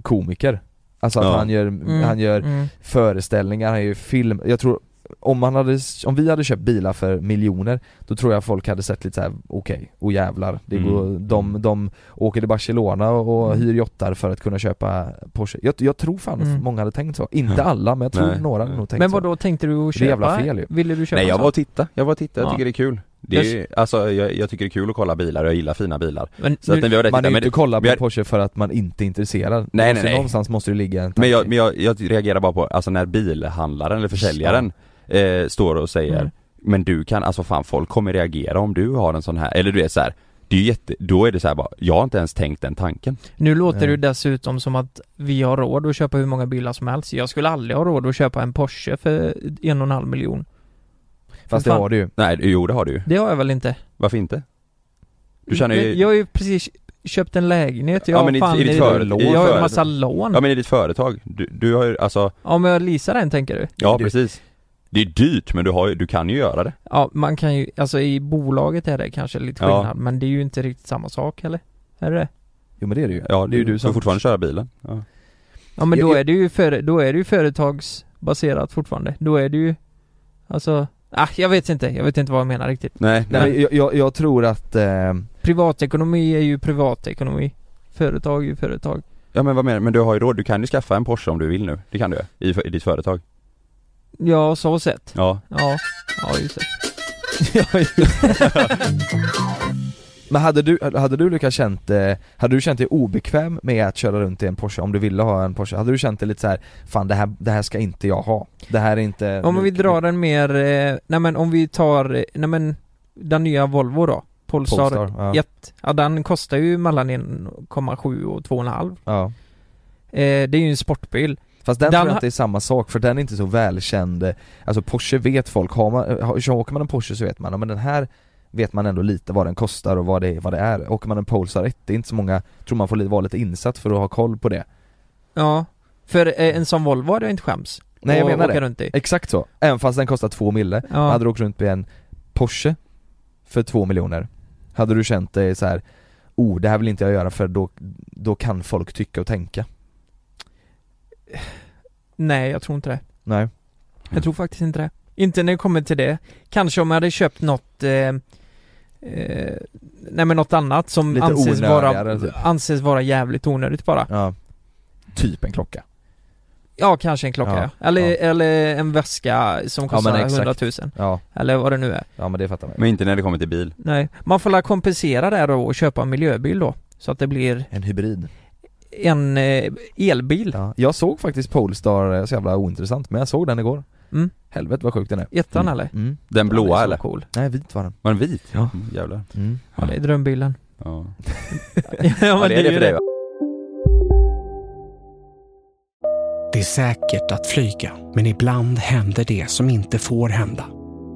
S4: komiker Alltså att
S2: Ja.
S4: han gör,
S5: Mm,
S4: han gör
S5: mm.
S4: föreställningar, han gör film, jag tror om, man hade, om vi hade köpt bilar för miljoner, då tror jag folk hade sett lite såhär, okej, och jävlar, det
S2: Mm.
S4: går, de, de åker till Barcelona och
S5: Mm.
S4: hyr jottar för att kunna köpa Porsche Jag, jag tror fan
S5: Mm.
S4: att många hade tänkt så, inte
S2: Ja.
S4: alla men jag tror
S2: Nej.
S4: några hade nog tänkt
S5: Men
S4: så
S5: vad då tänkte du
S4: Det är
S5: köpa?
S4: jävla fel ju.
S5: Ville du köpa
S2: Nej jag
S5: en
S2: var och titta, jag var och titta, jag
S5: Ja.
S2: tycker det är kul. Det är, ju- alltså jag, jag tycker det är kul att kolla bilar och jag gillar fina bilar.
S5: sån? Men
S2: Så att när
S5: nu,
S2: vi var där
S4: Man är
S2: tittade,
S4: ju
S2: men,
S4: inte kolla
S2: vi
S4: på
S2: har-
S4: Porsche för att man inte är intresserad
S2: nej,
S4: Någonstans-
S2: nej.
S4: Någonstans måste det ju ligga en tanke
S2: men, jag, men jag, jag reagerar bara på, alltså när bilhandlaren eller försäljaren eh, står och säger
S5: Mm.
S2: Men du kan, alltså fan folk kommer reagera om du har en sån här, eller du är så här. Det är ju jätte, då är det så här bara, jag har inte ens tänkt den tanken.
S5: nu låter det ju
S2: Mm.
S4: Ja.
S5: dessutom som att vi har råd att köpa hur många bilar som helst. Jag skulle aldrig ha råd att köpa en Porsche för en och en halv miljon.
S4: Fast det
S5: Fan.
S4: har du ju
S2: Nej, jo det har du ju.
S5: Det har jag väl inte?
S2: Varför inte? Du känner ju,
S5: Jag har ju precis köpt en lägenhet. Jag
S2: Ja, men i-
S5: har fan,
S2: i ditt företag- i ditt
S5: jag har ju en
S2: företag.
S5: massa lån.
S2: ja men i ditt företag, du, du har ju alltså,
S5: Om jag leasar den tänker du?
S2: ja
S4: Det-
S2: precis. Det är dyrt men du har ju, du kan ju göra det.
S5: Ja, man kan ju, alltså i bolaget är det kanske lite
S2: Ja.
S5: skillnad, men det är ju inte riktigt samma sak heller. Är det det?
S4: Jo men det är det ju.
S2: Ja, det är ju du
S4: som-
S2: får fortfarande köra bilen. Ja.
S5: Ja men
S4: Jag-
S5: då
S4: jag-
S5: är det ju före, då är det ju företagsbaserat fortfarande. Då är det ju, alltså, ah, jag vet inte, jag vet inte vad jag menar riktigt.
S2: Nej,
S4: Nej, men jag, jag, jag tror att, eh,
S5: Privatekonomi är ju privatekonomi. Företag är ju företag.
S2: Ja men vad menar du? Men du har ju råd, du kan ju skaffa en Porsche om du vill nu. Det kan du i, i ditt företag.
S5: Ja, så sett.
S2: Ja.
S5: Ja, ja just det.
S4: men hade du, hade du Lukas känt, eh, hade du känt dig obekväm med att köra runt i en Porsche om du ville ha en Porsche? Hade du känt dig lite så här, fan det här, det här ska inte jag ha? Det här är inte
S5: Om vi drar den mer, eh, nej men om vi tar, eh, nej men den nya Volvo då. Polestar,
S4: Polestar, ja.
S5: ett. Ja, den kostar ju mellan 1,7 och 2,5.
S4: Ja.
S5: Eh, det är ju en sportbil.
S4: Fast den,
S5: Den
S4: tror jag
S5: har-
S4: inte är samma sak för den är inte så välkänd eh, Alltså Porsche vet folk, har man, har, så åker man en Porsche så vet man, ja, men den här vet man ändå lite vad den kostar och vad det är, vad det är. Åker man en Polestar 1, det är inte så många, tror man får li- vara lite insatt för att ha koll på det
S5: Ja. För eh, en sån Volvo hade jag inte skäms.
S4: Nej jag
S5: att
S4: menar
S5: åka
S4: det,
S5: Runt i.
S4: exakt så. Även fast den kostar två mille,
S5: Ja.
S4: hade du åkt runt med en Porsche för två miljoner Hade du känt dig så här. oh det här vill inte jag göra för då, då kan folk tycka och tänka
S5: Nej, jag tror inte det.
S4: Nej,
S5: Jag tror faktiskt inte det. Inte när det kommer till det. Kanske om jag hade köpt något eh, eh, Nej men något annat som
S4: Lite
S5: anses vara,
S4: onödigare, typ.
S5: anses vara jävligt onödigt bara.
S4: ja Typ en klocka
S5: Ja, kanske en klocka
S4: Ja,
S5: ja. Eller,
S4: ja.
S5: eller en väska som kostar
S4: men exakt.
S5: 100 000
S4: Ja,
S5: Eller vad det nu är
S4: ja men det fattar man ju.
S2: Men inte när det kommer till bil.
S5: Nej, man får la kompensera där då och köpa en miljöbil då Så att det blir
S4: En hybrid
S5: en eh, elbil
S4: Ja, jag såg faktiskt Polestar, eh, så jävla ointressant, men jag såg den igår
S5: Mm.
S4: Helvete vad sjuk den är
S5: Ettan eller?
S4: mm.
S2: Den blåa
S5: är så
S2: eller?
S5: cool
S4: Nej, vit var den
S2: Var den vit?
S4: Ja.
S2: Mm, jävlar.
S4: mm.
S5: Ja, det är drömbilen
S2: Ja.
S5: ja, men
S2: Ja, det är det för dig va?
S6: Det är säkert att flyga, men ibland händer det som inte får hända.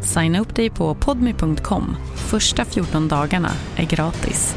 S7: Signa upp dig på podmi.com. Första 14 dagarna är gratis.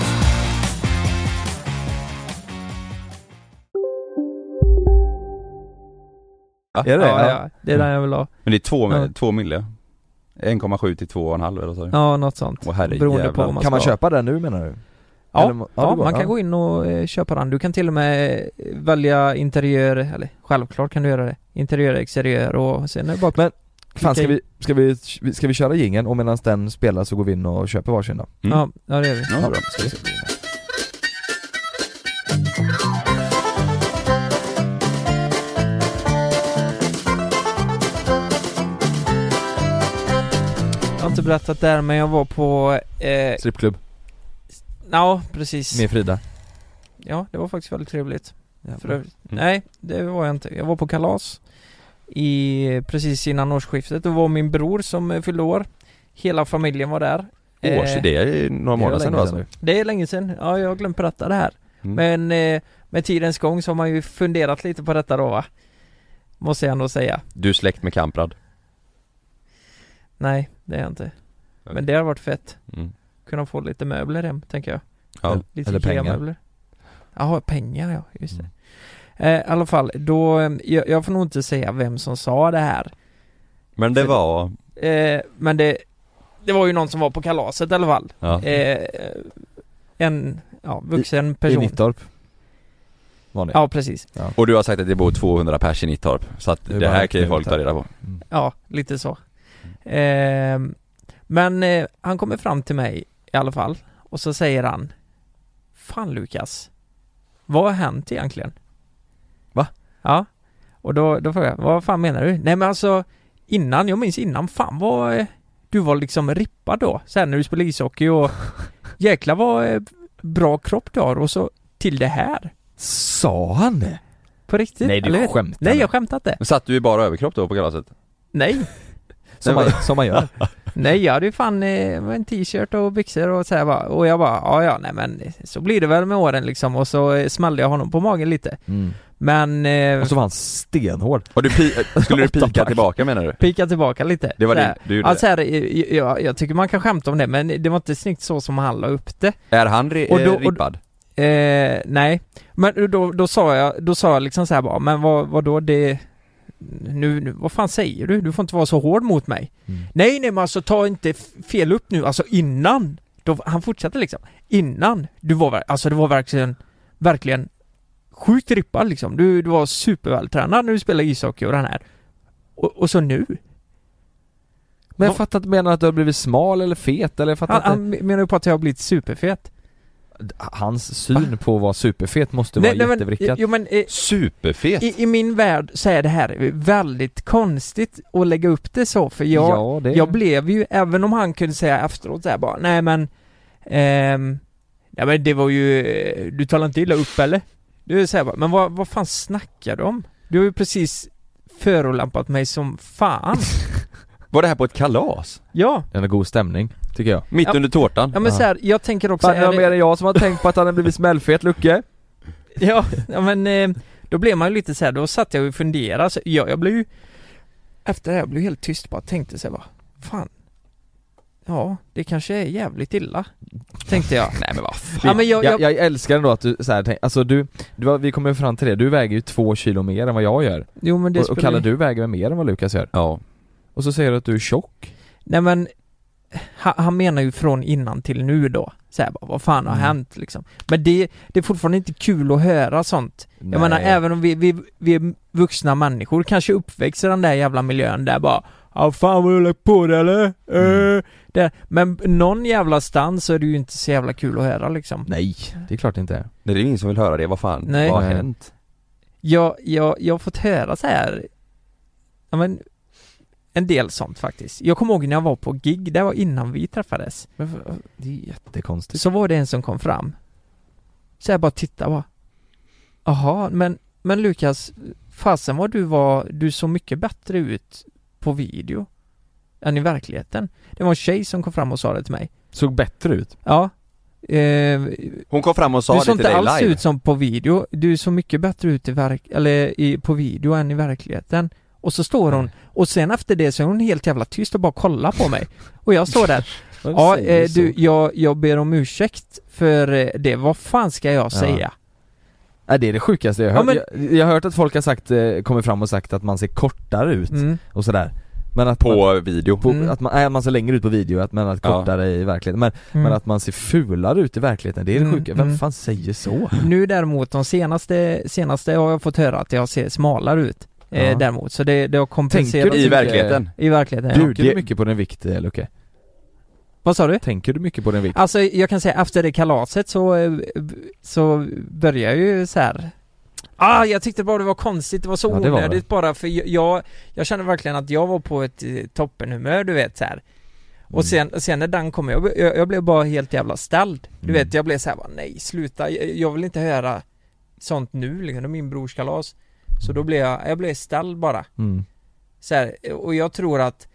S4: Är det
S5: ja,
S4: ja,
S5: ja, det är den jag vill ha
S2: Men det är två,
S5: Ja.
S2: två mille. 1,7 till 2,5 eller vad sa du?
S5: Ja, något sånt
S2: Åh, herrejävlar.
S5: Beroende på om man
S4: Kan man
S5: ska-
S4: köpa den nu menar du?
S5: Ja,
S4: Eller- ja,
S5: ja,
S4: det går,
S5: man
S4: ja.
S5: kan gå in och eh, köpa den. Du kan till och med eh, välja interiör, eller självklart kan du göra det. Interiör, exteriör och sen är det bara...
S4: Men- Fan, ska
S5: Okej.
S4: vi, ska vi, ska vi köra jingeln och medan den spelar så går vi in och köper varsin då?
S2: Mm.
S5: Ja, ja, det gör vi.
S2: Ja, bra.
S5: Jag har inte berättat där men jag var på... Eh,
S4: Strippklubb
S5: ja, precis.
S4: med Frida
S5: Ja, det var faktiskt väldigt trevligt. För
S4: Jävlar.
S5: övrigt. Nej, det var jag inte. Jag var på kalas i, precis innan årsskiftet. Det var min bror som eh, fyllde år. Hela familjen var där.
S2: Års,
S5: Eh,
S2: det är några
S4: Det var
S2: månader sedan då
S4: länge
S2: alltså?
S4: sedan
S5: Det är länge sedan, ja jag har glömt berätta det här
S2: Mm.
S5: Men eh, med tidens gång så har man ju funderat lite på detta då va Måste jag ändå säga
S2: Du är släkt med Kamprad?
S5: Nej, det är jag inte
S2: Okej.
S5: Men det har varit fett
S2: Mm.
S5: Kunna få lite möbler hem, tänker jag
S2: Ja.
S5: Lite
S4: Eller pengar.
S5: IKEA-möbler. Jaha, pengar ja, just det eh,
S4: Mm.
S5: I alla fall, då, eh, jag, jag får nog inte säga vem som sa det här
S2: Men det var...
S5: eh, Men det Det var ju någon som var på kalaset i alla fall
S2: Ja.
S5: eh, En, ja, vuxen
S4: Mm. I
S5: person
S4: Nittorp Var ni?
S5: Ja, precis
S2: Och du har sagt att det bor 200 pers i Nittorp, så att
S4: Det är
S2: det,
S4: bara
S2: här kan ju
S4: knivigt
S2: folk ta
S4: här.
S2: reda på
S5: Ja, lite så. Ehm, men eh, han kommer fram till mig i alla fall och så säger han Fan Lukas, vad har hänt egentligen?
S4: Va?
S5: Ja, och då, då frågar jag, vad fan menar du? Nej men alltså innan, jag minns innan, fan vad eh, du var liksom rippad då, sen när du spelade ishockey och jäklar vad eh, bra kropp du har och så till det här.
S4: Sa han det?
S5: På riktigt?
S2: Nej, du
S5: Typ, eller hur?
S2: skämtar
S5: Nej
S2: nu.
S5: jag skämtar inte.
S2: Men satt du i bara överkropp då på kalaset?
S5: Nej.
S2: Som man-
S4: som man gör.
S5: Nej jag hade ju fan eh, en t-shirt och byxor och så här bara, och jag bara ja ja nej men så blir det väl med åren liksom och så eh, smällde jag honom på magen lite. Men... Eh,
S4: Mm. Och så var han stenhård.
S2: Och du pi- skulle du pika tillbaka menar du?
S5: Pika tillbaka lite.
S2: Det var
S5: Såhär.
S2: det du gjorde.
S5: alltså, här, eh, jag, jag tycker man kan skämta om det men det var inte snyggt så som han la upp det.
S2: Är han ri-
S5: Och då-
S2: eh,
S5: och-
S2: rippad?
S5: Eh, nej, men då, då sa jag, då sa jag liksom så här bara, men vad, vad då det... Nu, nu, vad fan säger du? Du får inte vara så hård mot mig. Nej, nej men alltså ta inte f- fel upp nu, alltså innan. Då, han fortsatte liksom. Innan, du var, ver- alltså det var verkligen, verkligen sjukt rippad liksom. Du, du var supervältränad när du spelade ishockey och den här. Och, och så nu.
S4: Men jag fattar inte, menar han att du har blivit smal eller fet eller jag fattar
S5: Han,
S4: inte.
S5: han menar ju på att jag har blivit superfet.
S4: Hans syn på att vara superfet måste vara jättevrickat.
S5: men, jo, men, eh,
S2: Superfet?
S5: I, I min värld så är det här väldigt konstigt att lägga upp det så för jag,
S4: Ja, det-
S5: jag blev ju, även om han kunde säga efteråt så här bara, nej men ehm, Nej men det var ju, eh, du talar inte illa upp eller? Du säger bara, men vad, vad fan snackar du om? Du har ju precis förolämpat mig som fan
S2: Var det här på ett kalas?
S5: Ja!
S4: En god stämning, tycker jag.
S2: Mitt
S5: Ja.
S2: under tårtan?
S5: Ja men så här, jag tänker också
S4: Fan, det var
S5: är
S4: mer än jag som har tänkt på att han har blivit smällfet Lucke.
S5: Ja, ja men eh, då blev man ju lite så här, då satt jag och funderade, så jag, jag blev ju Efter det här jag blev helt tyst bara, tänkte så här, bara, fan Ja, det kanske är jävligt illa Tänkte jag Nej men vad ja, men jag, jag,
S4: jag, älskar ändå att du så här, tänk, alltså du, du, har- vi kommer ju fram till det, du väger ju två kilo mer än vad jag gör.
S5: Jo men det
S4: och, och
S5: spelar-
S4: Kalle du väger väl mer än vad Lukas gör?
S2: Ja.
S4: Och så säger du att du är tjock.
S5: Nej men han, han menar ju från innan till nu då så här, bara, vad fan har
S4: Mm.
S5: hänt liksom Men det, det är fortfarande inte kul att höra sånt
S4: Nej.
S5: Jag menar även om vi, vi, vi är vuxna människor kanske uppväxer i den där jävla miljön där bara Ja fan vad du lagt på det eller?
S4: Mm.
S5: Eh, där. Men någon jävla stans så är det ju inte så jävla kul att höra liksom
S4: Nej, det är klart det inte är.
S2: Nej, det är ingen som vill höra det, vad fan?
S5: Nej.
S2: Vad har
S5: Nej.
S2: hänt?
S5: Jag, jag, jag har fått höra så här Ja men En del sånt faktiskt Jag kommer ihåg när jag var på gig, det var innan vi träffades
S4: Men, det är jättekonstigt.
S5: Typ. Så var det en som kom fram Så jag bara tittade bara Jaha, men, men Lukas Fasen vad du var, du såg mycket bättre ut på video Än i verkligheten Det var en tjej som kom fram och sa det till mig
S4: Såg bättre ut.
S5: Ja eh,
S2: Hon kom fram och sa
S5: Du
S2: det till
S5: såg inte
S2: dig
S5: alls
S2: live?
S5: ut som på video Du såg mycket bättre ut i verk, eller i, på video än i verkligheten Och så står hon Och sen efter det så är hon helt jävla tyst och bara kollar på mig Och jag står där
S4: Vad
S5: Ja,
S4: säger
S5: eh,
S4: så?
S5: du, jag, jag ber om ursäkt för eh, det. Vad fan ska jag
S4: Ja.
S5: säga?
S4: Nej, det är det sjukaste jag har
S5: Ja,
S4: hört. Jag, jag har hört att folk har sagt, eh, kommit fram och sagt att man ser kortare ut
S5: Mm.
S4: och sådär. Men att man,
S2: På video?
S4: på,
S5: Mm.
S4: att man, nej, man ser längre ut på video, att, men att
S2: Ja.
S4: kortare i verkligheten. Men,
S5: Mm.
S4: men att man ser fulare ut i verkligheten, det är det
S5: Mm,
S4: sjuka. Vem
S5: mm.
S4: fan säger så?
S5: Nu däremot, de senaste, senaste har jag fått höra att jag ser smalare ut. Eh,
S4: Ja.
S5: däremot, så det, det har kompenserat.
S4: Tänker du-
S2: I verkligheten?
S5: I verkligheten, ja.
S4: Tänker du
S2: det-
S4: mycket på din vikt eh, Lucke?
S5: Vad sa du?
S4: Tänker du mycket på din vikt?
S5: Alltså jag kan säga efter det kalaset så, eh, b- så började jag ju så här. Ah, jag tyckte bara det var konstigt, det var så
S4: Ja, det var det.
S5: onödigt bara för jag- jag, jag kände verkligen att jag var på ett eh, toppenhumör du vet så här. Och
S4: Mm.
S5: sen, sen när den kom, jag, jag, jag blev bara helt jävla ställd. Du
S4: Mm.
S5: vet, jag blev så här, bara, nej sluta, jag, jag vill inte höra sånt nu liksom, det är min brors kalas. Så då blev jag, jag blev ställd bara.
S4: Mm.
S5: Så här, och jag tror att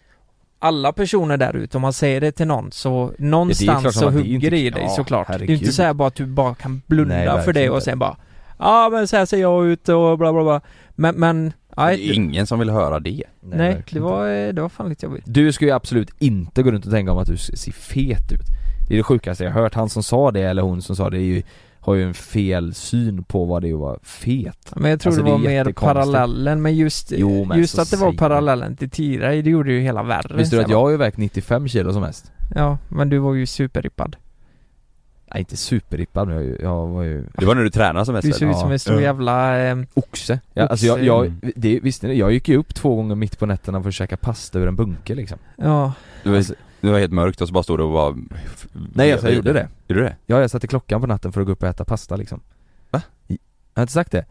S5: alla personer där ute, om man säger det till någon så någonstans
S4: klart som
S5: så
S4: att det är
S5: hugger
S4: inte-
S5: det i dig
S4: Ja,
S5: såklart. Det är ju
S4: herregud.
S5: inte så här bara att du bara kan blunda
S4: Nej,
S5: för det
S4: verkligen
S5: och
S4: inte.
S5: sen bara Ja men så här ser jag ut och bla bla bla. Men, men,
S2: Det
S5: nej,
S2: är ingen som vill höra det.
S5: nej, det,
S4: verkligen inte.
S5: var, eh, det var fan lite jobbigt.
S4: Du ska ju absolut inte gå runt och tänka om att du ser fet ut Det är det sjukaste jag har hört, han som sa det eller hon som sa det är ju, har ju en fel syn på vad det är att vara fet
S5: Men jag tror
S4: Alltså,
S5: det
S4: det är
S5: var mer
S4: jättekonstigt.
S5: parallellen, men just,
S4: Jo, men
S5: just
S4: så
S5: att det var
S4: säger
S5: parallellen till tidigare, det gjorde ju hela värre.
S4: Visste du att
S5: Så bara,
S4: jag har ju vägt 95 kilo som mest?
S5: Ja, men du var ju superrippad.
S4: Nej inte superrippad men jag, är ju- jag var ju
S2: Det var när du tränade som mest
S4: Alltså,
S5: Du såg
S2: väl?
S5: ut som en stor
S2: Ja.
S5: jävla... Eh,
S4: oxe, jag, alltså jag,
S5: Oxe. Mm.
S4: jag det, visste ni Jag gick ju upp två gånger mitt på nätterna för att käka pasta ur en bunke liksom
S5: ja,
S2: Det var, det var helt mörkt och så bara stod du och bara...
S4: Nej alltså jag gjorde det
S2: Gjorde du det?
S4: Ja jag satte klockan på natten för att gå upp och äta pasta liksom Va? Jag har inte sagt det?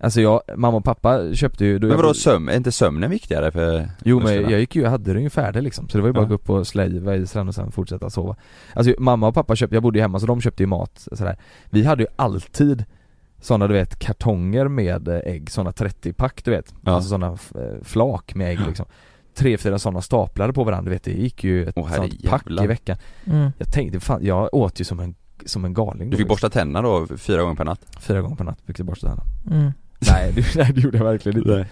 S4: Alltså jag, mamma och pappa köpte ju då
S2: Men
S4: jag
S2: vadå
S4: bodde-
S2: sömn, är inte sömnen viktigare för
S4: Jo men
S2: musklerna?
S4: jag gick ju, jag hade den ju färdig liksom, så det var ju bara
S2: Ja.
S4: att gå upp och slöjva i stranden och sen fortsätta sova Alltså mamma och pappa köpte, jag bodde ju hemma så de köpte ju mat sådär Vi hade ju alltid sådana du vet kartonger med eh, ägg, sådana 30-pack du vet,
S2: Ja.
S4: alltså sådana eh, flak med ägg liksom Tre, fyra sådana staplade på varandra, du vet det gick ju ett
S2: Åh,
S4: sånt
S2: herrejävlar.
S4: pack i veckan
S5: Mm.
S4: Jag tänkte, fan, jag åt ju som en, som en galning
S2: Du fick
S4: då, liksom.
S2: borsta tänderna då fyra gånger per natt?
S4: Fyra gånger per natt fick jag borsta tänderna
S5: Mm.
S4: nej, det, nej det gjorde jag verkligen inte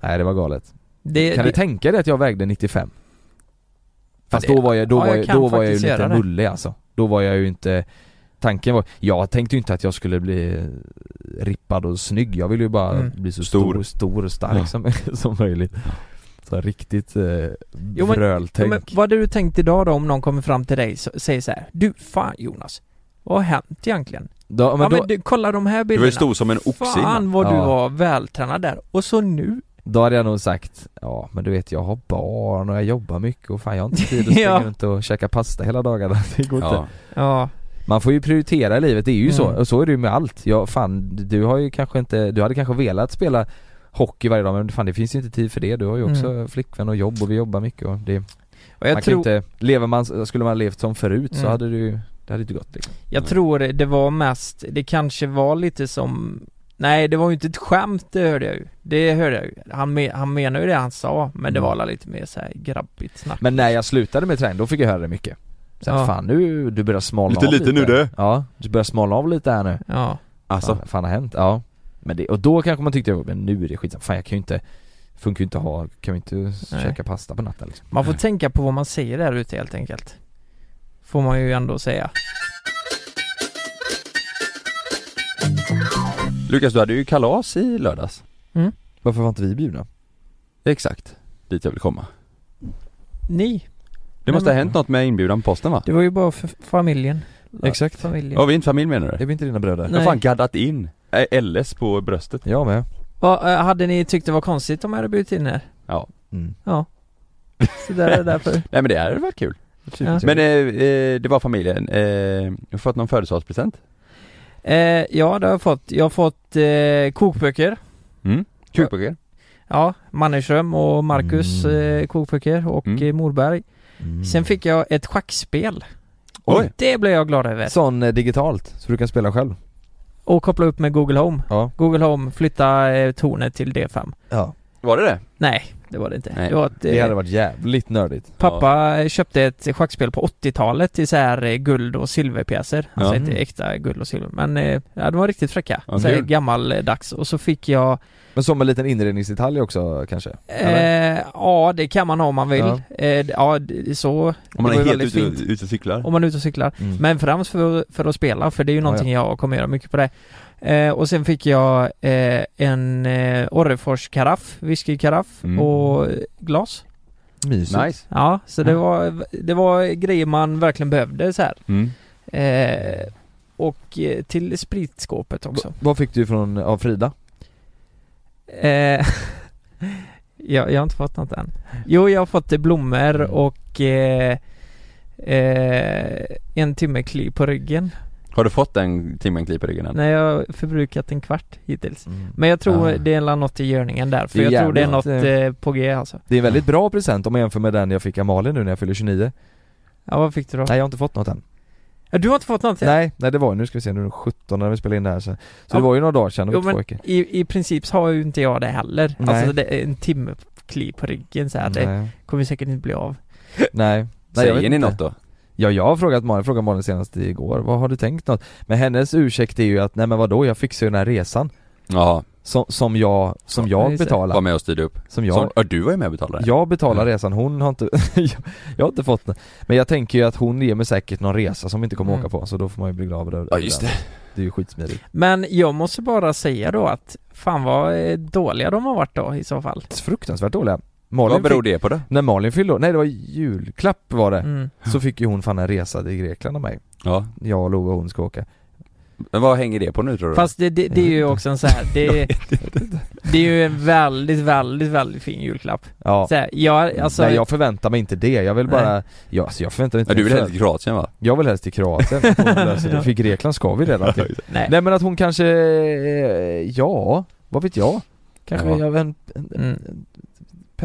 S4: Nej, det var galet
S5: Det,
S4: Kan
S5: Eh, det,
S4: du tänka dig att jag vägde 95? Fast
S5: det-
S4: då var jag, då
S5: ja,
S4: var
S5: jag
S4: jag,
S5: kan
S4: då var jag ju
S5: faktiskt
S4: lite
S5: göra det.
S4: mullig alltså Då var jag ju inte Tanken var, jag tänkte ju inte att jag skulle bli eh, rippad och snygg Jag ville ju bara
S5: Mm.
S4: bli så
S2: Stor.
S4: stor, och stor och stark
S2: Ja.
S4: som, som möjligt Så här riktigt eh,
S5: Jo, men-
S4: vröltänk
S5: men vad hade du tänkt idag då om någon kommer fram till dig och säger så här, Du, fan Jonas, vad har hänt egentligen?
S4: då, men
S5: ja,
S4: då,
S5: men du, kolla de här
S2: Du
S5: bilderna.
S2: var ju stor som en oxe innan.
S5: Fan vad du
S4: Ja.
S5: var vältränad där. Och så nu.
S4: då hade jag nog sagt Ja men du vet jag har barn och jag jobbar mycket och fan jag har inte tid att springa
S5: Ja.
S4: runt och käka pasta hela dagarna Det går inte
S2: Ja.
S5: Ja.
S4: Man får ju prioritera i livet, det är ju så,
S5: Mm.
S4: och så är det ju med allt. Ja, fan, du har ju kanske inte, du hade kanske velat spela hockey varje dag men fan det finns ju inte tid för det. Du har ju också
S5: Mm.
S4: flickvän och jobb och vi jobbar mycket och det,
S5: Och jag
S4: man
S5: tror,
S4: kan inte, lever man, skulle man ha levt som förut så
S5: Mm.
S4: hade du det hade inte gått liksom.
S5: jag tror det var mest, det kanske var lite som Nej det var ju inte ett skämt, det hörde jag ju. Det hörde jag ju. Han, me, han menade ju det han sa, men det
S4: Mm.
S5: var alla lite mer så här grabbigt snack.
S4: Men när jag slutade med träning då fick jag höra det mycket. Så här,
S5: Ja.
S4: fan nu, du börjar smalna
S2: Lite
S4: av
S2: lite nu, du.
S4: Ja, du börjar smalna av lite här nu.
S5: Ja.
S2: Alltså,
S4: Fan, fan har hänt, ja. Men det, och då kanske man tyckte, men nu är det skitsamma, fan jag kan ju inte, funkar ju inte att ha, kan ju inte käka pasta på natten liksom.
S5: Man får tänka på vad man säger där ute helt enkelt. Får man ju ändå säga.
S2: Lukas du hade ju kalas i lördags.
S4: Varför var inte vi bjudna?
S2: Exakt. Dit jag vill komma.
S5: Ni,
S2: Det
S5: Nej,
S2: måste ha
S5: men-
S2: hänt något med inbjudan på posten va?
S5: det var ju bara för familjen.
S4: Exakt.
S5: Familjen.
S2: Ja, vi är inte familj menar du?
S4: Det är inte dina bröder?
S2: Jag har
S5: Nej.
S2: fan gaddat in eh, LS på bröstet.
S4: Jag med.
S5: Vad eh, hade ni tyckt det var konstigt om jag hade bjudit in er?
S4: Mm.
S5: Så där är det därför.
S2: Nej men det här var kul. Men eh, eh, det var familjen. Eh, jag har fått någon födelsedagspresent.
S5: Eh, ja, det har jag fått. Jag har fått eh, kokböcker.
S2: Mm. Kukböcker.
S5: Ja, Mannerström och Marcus
S4: Mm.
S5: eh, kokböcker och
S2: Mm.
S5: eh, Morberg.
S4: Mm.
S5: Sen fick jag ett schackspel.
S2: Oj!
S5: Det blev jag glad över.
S4: Sån eh, digitalt, så du kan spela själv?
S5: Och koppla upp med Google Home.
S4: Ja.
S5: Google Home, flytta eh, tornet till D5.
S4: Ja.
S2: Var det det?
S5: Nej, det var det inte.
S2: Nej.
S5: Det var ett,
S4: Det
S5: eh,
S4: hade varit jävligt nördigt.
S5: Pappa köpte ett schackspel på 80-talet i så här eh, guld och silverpjäser. Alltså
S2: Ja. Mm.
S5: inte äkta guld och silver men eh, ja, de var riktigt fräcka.
S2: Ja,
S5: så här
S2: kul.
S5: gammaldags. Och så fick jag,
S4: Men som en liten inredningsdetalj också kanske? Eller?
S5: eh, ja det kan man ha om man vill.
S4: Ja.
S5: Ja, eh, ja det- så.
S2: Om man
S5: det
S2: är
S5: var ju
S2: helt
S5: väldigt
S2: ute,
S5: fint.
S2: ute och cyklar.
S5: Om man är ute och cyklar.
S4: Mm.
S5: Men främst för, för att spela, för det är ju
S4: ja.
S5: någonting jag kommer göra mycket på det. Eh, och sen fick jag eh, en eh, Orrefors-karaff, whiskykaraff
S2: Mm.
S5: och eh, glas.
S4: Mysigt.
S2: Nice.
S5: Ja, så det
S2: Ja.
S5: var, det var grejer man verkligen behövde så här.
S2: Mm.
S5: Eh, och eh, till spritskåpet också.
S4: V- vad fick du från, av Frida?
S5: Eh, jag, jag har inte fått något än. Jo, jag har fått eh, blommor
S4: Mm.
S5: och eh, eh, en timme kli på ryggen.
S2: Har du fått en timmenkli på ryggen än?
S5: Nej, jag har förbrukat en kvart hittills. Men jag tror
S2: Ah.
S5: det är något i görningen där, för
S4: Det är
S5: jag tror det är
S4: jävligt,
S5: något eh, på G alltså.
S4: Det är en väldigt bra present om man jämför med den jag fick av Malin nu när jag fyller 29
S5: Ja, vad fick du då?
S4: Nej jag har inte fått något än
S5: Ja, Du har inte fått något? än.
S4: Nej, nej det var ju, nu ska vi se, nu är det 17 när vi spelar in det här så, så
S5: Ja.
S4: det var ju några dagar sedan, det
S5: Jo,
S4: var två
S5: men-
S4: veckor
S5: I, I princip så har ju inte jag det heller.
S4: Nej.
S5: Alltså det är en timme kli på ryggen så här. det
S4: Nej,
S5: kommer säkert inte bli av.
S4: nej Nej, jag
S2: Säger
S4: vet
S2: ni
S4: inte.
S2: något då?
S4: Ja jag har frågat Malin, jag frågade Malin senast igår, vad har du tänkt något? Men hennes ursäkt är ju att, nej men vadå, jag fixar ju den här resan
S2: Ja,
S4: Som, som jag, som
S5: Ja,
S4: jag
S5: just det.
S2: var
S4: betalar,
S2: med och styrde upp.
S4: som
S2: Ja,
S4: jag,
S2: Som, ja du var ju med och betalade.
S4: jag betalar resan, hon har inte, jag, jag har inte fått den Men jag tänker ju att hon ger mig säkert någon resa som vi inte kommer
S5: Mm.
S4: åka på, så då får man ju bli glad över det
S2: Ja, just det.
S4: Det är ju skitsmidigt
S5: Men jag måste bara säga då att fan vad eh, dåliga de har varit då i så fall.
S4: Fruktansvärt dåliga Malin
S2: Vad beror
S4: fick,
S2: det på då?
S4: När Malin fyllde år- nej det var julklapp var det,
S5: Mm.
S4: så fick ju hon fan en resa till Grekland av mig
S2: Ja.
S4: Jag och Lova och hon ska åka
S2: Men vad hänger det på nu tror du?
S5: Fast det, det, det är ju också en så här, det, det är ju en väldigt, väldigt, väldigt fin julklapp.
S4: Ja Mm.
S5: Så här, jag, alltså,
S4: Nej jag förväntar mig inte det, jag vill bara, jag, alltså jag förväntar mig inte
S2: ja, du vill
S4: jag
S2: helst till Kroatien va?
S4: Jag vill helst till Kroatien, ja. för Grekland ska vi redan till
S5: nej.
S4: Nej men att hon kanske, eh, ja, vad vet jag? Kanske
S2: Ja.
S4: jag en, en,
S5: Mm.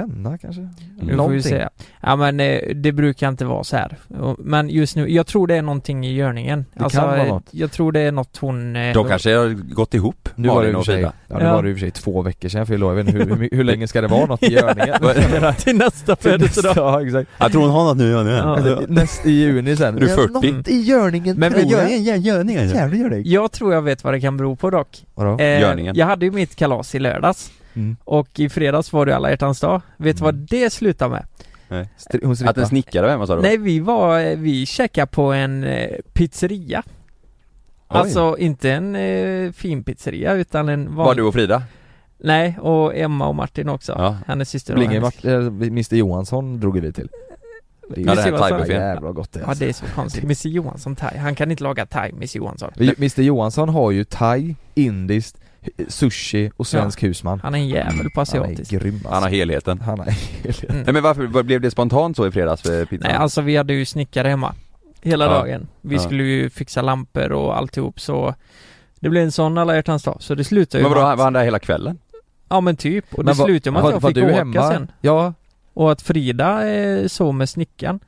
S4: penna kanske?
S5: Nu får vi se. Ja men eh, det brukar inte vara så här. Och- Men just nu, jag tror det är någonting i görningen.
S4: Det kan vara
S5: eh,
S4: något.
S5: Jag tror det är något hon... eh,
S2: De kanske har gått ihop,
S4: Nu var det i
S2: Malin
S4: och
S2: och
S4: för sig,
S2: Frida.
S4: ja, nu
S5: Ja.
S4: var det i och för sig två veckor sedan för jag lovar, jag vet inte hur, hur, hur länge ska det vara något i görningen?
S5: Ja, Till nästa födelsedag.
S4: Ja exakt.
S2: Jag tror hon har något nu, Alltså, ja, nu.
S4: Eller, Näst, I juni sen.
S2: Du är 40.
S4: Något i görningen
S5: Men
S4: tror jag.
S2: Görningen,
S4: Jävla görning.
S5: Jag tror jag vet vad det kan bero på dock.
S4: Vadå?
S2: Görningen.
S5: Eh, jag hade ju mitt kalas i lördags.
S4: Mm.
S5: Och i fredags var det alla hjärtans dag. Vet du vad det slutade med?
S4: Stri- Hon
S2: Att en
S4: strippar.
S2: snickare hemma sa du?
S5: Nej, vi var, eh, vi checkade på en eh, pizzeria. Alltså inte en eh, fin pizzeria utan en
S2: Var
S5: vanlig.
S2: du och Frida?
S5: Nej, och Emma och Martin också.
S2: Ja.
S5: Hennes syster och
S4: Blinge
S5: hennes...
S4: Mart- eller Mr eh, Johansson drog ju vi till. Det är
S2: Ja, det här
S5: Johansson.
S4: ju
S2: thaibuffén.
S4: jävla gott det
S5: Ja,
S4: alltså.
S5: det är så konstigt. Mr Johansson thai. Han kan inte laga thai, Mr Johansson.
S4: Mr Johansson har ju thai, indiskt, sushi och svensk husman.
S5: Han är en jävel
S4: Han
S5: på
S4: är
S5: asiatiskt.
S4: grym
S2: Han har
S4: alltså.
S2: helheten.
S4: Han är helt...
S2: Nej men varför vad blev det spontant så i fredags för pizzan?
S5: Nej, alltså vi hade ju snickare hemma. Hela
S2: Ja.
S5: dagen. Vi
S2: Ja.
S5: skulle ju fixa lampor och alltihop så det blev en sån alla hjärtans dag. Så det slutade ju
S2: men vadå,
S5: med
S2: han-
S5: att-
S2: var han där hela kvällen?
S5: Ja men typ. Och det
S4: vad-
S5: slutade med att
S4: vad-
S5: jag
S4: var
S5: fick
S4: du
S5: åka
S4: hemma?
S5: sen.
S4: Ja,
S5: Och att Frida eh, sov med snickaren.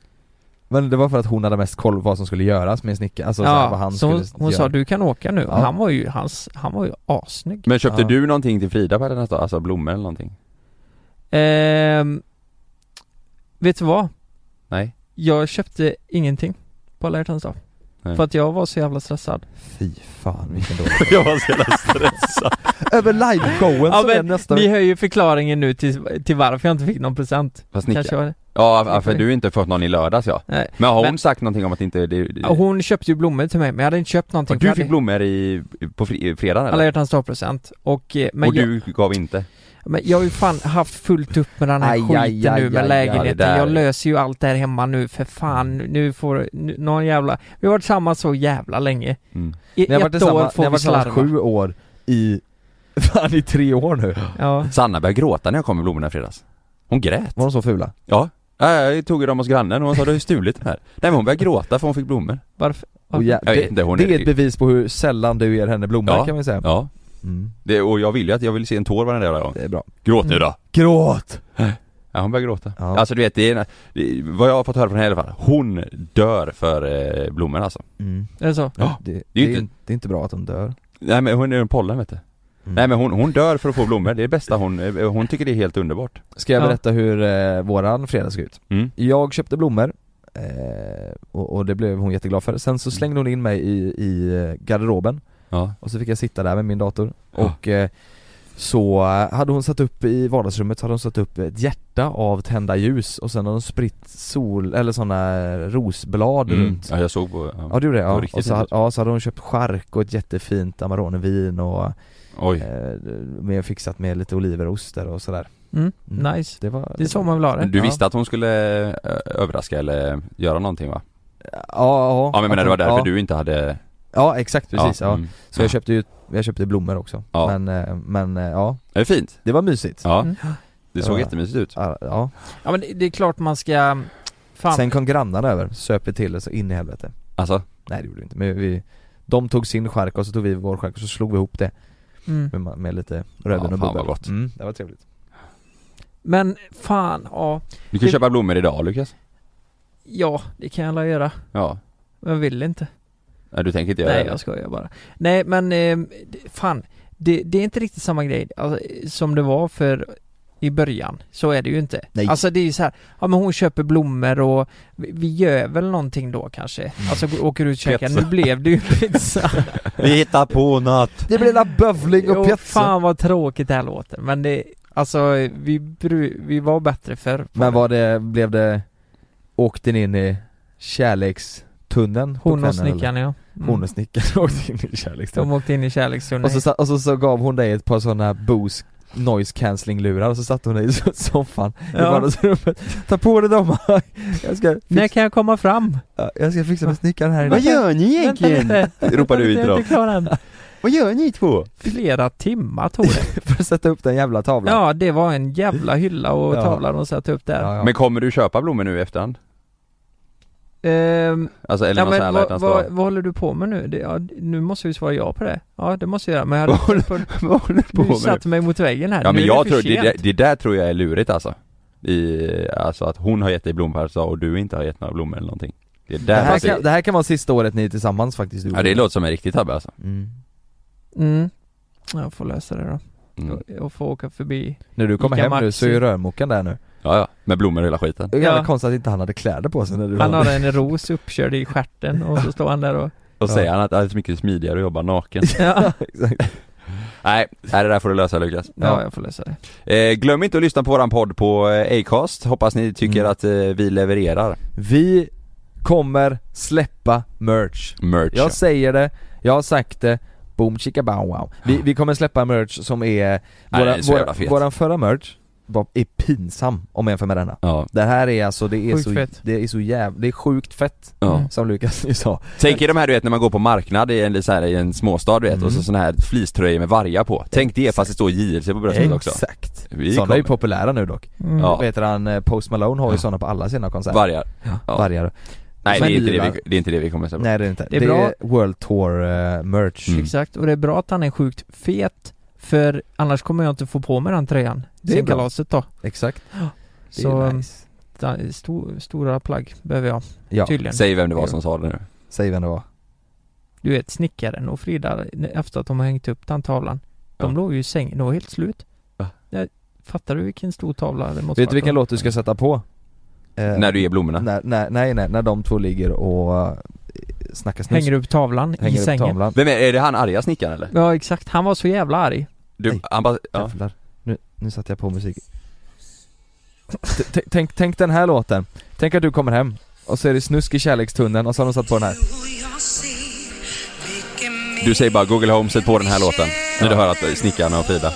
S4: men det var för att hon hade mest koll på vad som skulle göras med snickaren, alltså så här, vad han
S5: så hon,
S4: skulle
S5: hon
S4: göra.
S5: sa du kan åka nu. Och
S4: Ja.
S5: Han var ju, hans, han var ju assnygg.
S2: Men köpte
S4: Ja.
S2: du någonting till Frida på den dag? Alltså blommor eller någonting?
S5: Ehm, vet du vad?
S2: Nej?
S5: Jag köpte ingenting på alla hjärtans dag.
S2: Nej.
S5: För att jag var så jävla stressad.
S4: Fy fan vilken dålig
S2: Jag var så jävla stressad.
S4: Över liveshowen
S5: Ja,
S4: som är
S5: men
S4: nästa
S5: Ni hör ju förklaringen nu till, till varför jag inte fick någon present.
S2: Vad snickare?
S5: Kanske var det.
S2: Ja, ja, för du har inte fått någon i lördags ja.
S5: Nej.
S2: Men har hon
S5: Men-
S2: sagt någonting om att inte det, det...
S5: Ja, Hon köpte ju blommor till mig men jag hade inte köpt någonting.
S2: Och
S5: för jag
S2: du fick
S5: hade
S2: blommor i, på fri, fredagen
S5: Alla
S2: eller?
S5: hjärtans dag present. Och, eh, Alltså, men
S2: Och
S5: jag-
S2: du gav inte?
S5: Men jag har ju fan haft fullt upp med den här
S4: Aj,
S5: skiten
S4: aj, aj,
S5: nu med
S4: aj,
S2: aj,
S5: lägenheten.
S2: det där.
S5: jag löser ju allt där hemma nu för fan. Nu får nu, någon jävla... Vi har varit tillsammans så jävla länge.
S2: Mm.
S5: I
S4: Ni har varit
S5: ett år
S4: tillsammans, ni
S5: får
S4: har
S5: vi
S4: varit tillsammans
S5: slarva.
S4: sju år i, fan i tre år nu
S5: Ja.
S2: Sanna började gråta när jag kom med blommorna i fredags. Hon grät.
S4: Var de så fula?
S2: Ja. Ja, Jag tog ju dem hos grannen och hon sa du har ju stulit den här. Nej men hon började gråta för hon fick blommor.
S5: Varför?
S4: Och jä-
S2: Jag vet inte, hon
S4: det, det
S2: är-
S4: är ett bevis på hur sällan du ger henne blommor
S2: Ja.
S4: kan man säga
S2: Ja.
S4: mm.
S2: Det, och jag ville ju att jag ville se en tår varenda jävla gång.
S4: Det är bra
S2: Gråt nu då!
S4: Gråt!
S2: Ja hon börjar gråta.
S4: Ja.
S2: Alltså du vet, det är, det, vad jag har fått höra från henne i alla fall, hon dör för eh, blommorna alltså.
S4: Mm.
S5: Är det så?
S2: Ja,
S4: Det,
S2: det är ju
S4: det, är,
S2: inte- Mm.
S4: det är inte bra att de dör
S2: Nej men hon är en pollen vet du.
S4: Mm.
S2: Nej men hon, hon dör för att få blommor, det är det bästa hon, eh, hon tycker det är helt underbart.
S4: Ska jag
S5: Ja.
S4: berätta hur eh, våran fredag såg ut?
S2: Mm.
S4: Jag köpte blommor eh, och, och det blev hon jätteglad för, sen
S2: Mm.
S4: så slängde hon in mig i, i eh, garderoben
S2: Ja.
S4: Och så fick jag sitta där med min dator
S2: Ja.
S4: och eh, så eh, hade hon satt upp i vardagsrummet så hade hon satt upp ett hjärta av tända ljus och sen hade hon spritt sol, eller sådana rosblad
S2: Mm.
S4: runt
S2: ja jag såg på, ja.
S4: Ja du gjorde det?
S2: Det var
S4: Ja.
S2: riktigt
S4: Och så,
S2: fint.
S4: hade- ja, så hade hon köpt chark och ett jättefint Amaronevin och
S2: Oj.
S4: eh, med fixat med lite oliver och ostar och sådär
S5: Mm.
S4: Mm.
S5: Nice.
S4: Det var
S5: Det är så man vill ha
S2: Men
S5: det.
S2: du visste att hon skulle eh, överraska eller göra någonting va?
S4: Ja, ja,
S2: Ja men jag menar det var därför
S4: ja.
S2: du inte hade...
S4: Ja exakt precis, ja,
S2: mm.
S4: Så jag köpte ju, jag köpte blommor också
S2: Ja.
S4: men, eh, men eh, ja,
S2: Det är fint.
S4: det var mysigt
S2: Ja.
S5: Mm.
S2: Det såg
S4: Ja.
S2: jättemysigt ut.
S4: Ja, ja.
S5: Ja men det, det är klart man ska... mm, Fan.
S4: Sen kom grannarna över, söp vi till det så in i helvete
S2: Alltså,
S4: Nej det gjorde vi inte, men vi De tog sin skärk och så tog vi vår skärk och så slog vi ihop det
S5: Mm.
S4: med, ma- med lite rödvin
S2: Ja,
S4: och
S2: fan
S4: bubbel
S2: vad gott.
S4: mm, Det var trevligt
S5: Men fan, ja.
S2: du kan
S5: Det-
S2: köpa blommor idag Lukas.
S5: Ja, det kan jag alla göra.
S2: Ja.
S5: Men jag vill inte.
S2: Nej, du tänker inte göra
S5: Nej
S2: det?
S5: jag skojar bara. Nej men eh, det- fan, det, det är inte riktigt samma grej alltså, eh, som det var för i början. Så är det ju inte.
S4: Nej.
S5: Alltså det är ju så här, ja men hon köper blommor och vi, vi gör väl någonting då kanske.
S4: Mm.
S5: Alltså gå- åker ut och käkar,
S2: Pizza.
S5: nu blev det ju pizza.
S2: Vi hittar på natt.
S4: Det blir lilla bövling och
S5: Jo,
S4: pjätsa
S5: fan vad tråkigt det här låter. Men det, alltså vi, bru- vi var bättre förr.
S4: Men var det, blev det Åkte ni in i kärlekstunneln? på
S5: Hon och
S4: kvällen, eller?
S5: snickaren ja. Mm.
S4: Hon och snickaren åkte in i kärlekstunneln
S5: De åkte in i kärlekstunneln.
S4: och, så, sa- och så, så gav hon dig ett par sådana Bose noise cancelling lurar och så satte hon dig i so- soffan i
S5: Ja.
S4: vardagsrummet Ta på dig dem! jag, ska
S5: När
S4: fixa,
S5: kan jag komma fram?
S4: jag ska fixa med snickaren här inne
S2: ni
S5: Vänta lite.
S2: Ropar du
S5: Jag
S2: ut
S5: är
S2: dem.
S5: inte klar än.
S2: Vad gör ni två?
S5: Flera timmar tog det.
S4: för att sätta upp den jävla tavlan?
S5: Ja, det var en jävla hylla och
S4: Ja.
S5: tavla de satte upp där.
S4: ja, ja.
S2: Men kommer du köpa blommor nu i efterhand?
S5: Ehm,
S2: Alltså eller
S5: ja,
S2: någon sån här
S5: men
S2: alla
S5: vad,
S2: hjärtans
S5: vad,
S2: dag?
S5: vad håller du på med nu? Det, ja, nu måste vi svara ja på det. Ja, det måste jag göra. Men jag hade
S2: Vad håller du på
S5: du
S2: med?
S5: satte mig mot väggen här.
S2: Ja
S5: nu
S2: men
S5: är
S2: jag
S5: det
S2: tror,
S5: för
S2: det,
S5: sent.
S2: det där tror jag är lurigt alltså i, alltså att hon har gett dig blommor så, och du inte har gett några blommor eller någonting Det är
S4: Det
S2: där
S4: här,
S2: det,
S4: kan, det här kan vara sista året ni är tillsammans faktiskt du och
S2: ja, det
S4: jag.
S2: låter som en riktig tabbe alltså
S4: mm.
S5: Mm. Jag får lösa det då.
S2: Mm.
S5: Jag får åka förbi
S4: När du kommer
S5: Ica
S4: hem nu
S5: Maxi.
S4: så är ju rörmokaren där nu
S2: Ja, ja, med blommor och hela skiten
S4: Det är
S5: Ja.
S4: jävla konstigt att inte han hade kläder på sig när du
S5: Han
S4: var
S5: har en ros uppkörd i stjärten och så står han där och
S2: Och
S4: Ja.
S2: säger han att det är så mycket smidigare att jobba naken
S5: Ja,
S4: Exakt.
S2: Nej, nej, det där får du lösa Lukas
S5: ja jag får lösa det.
S2: eh, Glöm inte att lyssna på våran podd på eh, Acast, hoppas ni tycker
S4: Mm.
S2: att eh, vi levererar
S4: Vi kommer släppa merch
S2: merch
S4: Jag säger det, jag har sagt det, boom chicka bow wow Vi, vi kommer släppa merch som är,
S2: Nej,
S4: våra,
S2: den är så jävla
S4: våra,
S2: fet.
S4: våran förra merch var, är pinsam om jag jämför med denna
S2: ja.
S4: Det här är alltså, det är
S5: Sjukt
S4: så,
S5: fett. Mm.
S4: det är så jävla, det är sjukt fett
S2: Ja.
S4: Som Lukas nyss sa
S2: Tänk er de här du vet när man går på marknad i en, så här, i en småstad du vet
S5: Mm.
S2: och så såna här fleecetröjor med vargar på Tänk det fast det står JLC på bröstet också
S4: Exakt!
S2: Vi
S4: Sådana är ju
S2: kommer.
S4: populära nu dock
S5: Mm.
S2: Ja,
S4: Vad heter han, eh, Post Malone har ju
S2: Ja.
S4: sådana på alla sina konserter
S2: vargar ja.
S4: Vargar
S2: Nej det
S4: Men-
S2: är, inte det, vi, det är inte det vi kommer att säga
S4: Nej det är inte,
S5: Det är bra.
S4: World Tour eh, merch
S2: Mm.
S5: Exakt, och det är bra att han är sjukt fet för annars kommer jag inte få på mig den tröjan
S4: Det är
S5: sen
S4: bra.
S5: kalaset då.
S4: Exakt, det
S5: Så
S4: är
S5: ehm,
S4: nice
S5: da- sto, stora plagg behöver jag
S4: Ja,
S5: tydligen.
S2: Säg vem det var som sa det nu
S4: säg vem det var
S5: Du vet snickaren och Frida efter att de har hängt upp den tavlan. De
S2: Ja.
S5: låg ju i sängen, de var helt slut.
S2: Va?
S5: Jag, fattar du vilken stor tavla det måste
S4: Vet du
S5: varit
S4: vilken
S5: då?
S4: låt du ska sätta på? Eh,
S2: När du ger blommorna
S4: när, när, Nej nej, när de två ligger och eh, snackar snus
S5: Hänger upp tavlan i
S4: Hänger upp
S5: sängen.
S4: tavlan
S2: Vem är, är det han arga snickaren eller?
S5: Ja exakt, han var så jävla arg.
S2: Du,
S4: Nej.
S2: han bara, ja.
S4: Jävlar, nu, nu satte jag på musik T- t- tänk, tänk den här låten, tänk att du kommer hem och så är det snusk i kärlekstunneln och så har de satt på den här
S2: Du säger bara Google Home, sätt på den här låten När du hör att eh, snickaren och Frida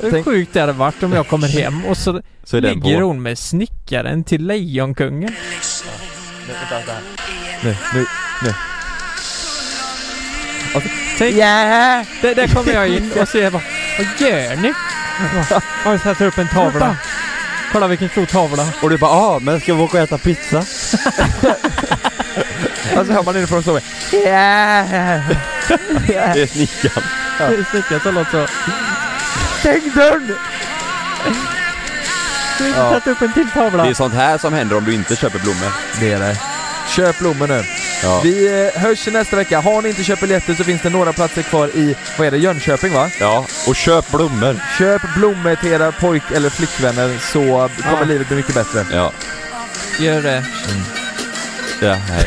S5: Hur
S4: Tänk-
S5: sjukt det hade varit om jag kommer hem och så
S2: Så är den
S5: ligger
S2: på
S5: hon med snickaren till Lejonkungen.
S4: Nu, nu, nu
S5: Tänk, där, där kommer jag in och ser bara, vad gör ni? Jag bara, Har du satt upp en tavla? Kolla vilken stor tavla.
S2: Och du bara ah, men ska vi åka och äta pizza?
S4: Alltså hör man inifrån så
S2: Det är snickaren
S5: Det är snickaren som låter så.
S4: Stäng dörren!
S5: Du har inte satt upp en till
S2: Det
S5: tavla.
S2: är sånt här som händer om du inte köper blommor
S4: Det är det Köp blommor nu
S2: Ja,
S4: Vi eh, hörs nästa vecka, har ni inte köpt biljetter så finns det några platser kvar i, vad är det, Jönköping va?
S2: ja. och köp blommor
S4: Köp blommor till era pojk eller flickvänner så kommer
S5: Ja.
S4: livet bli mycket bättre
S2: Ja,
S5: Gör det.
S2: ja, hej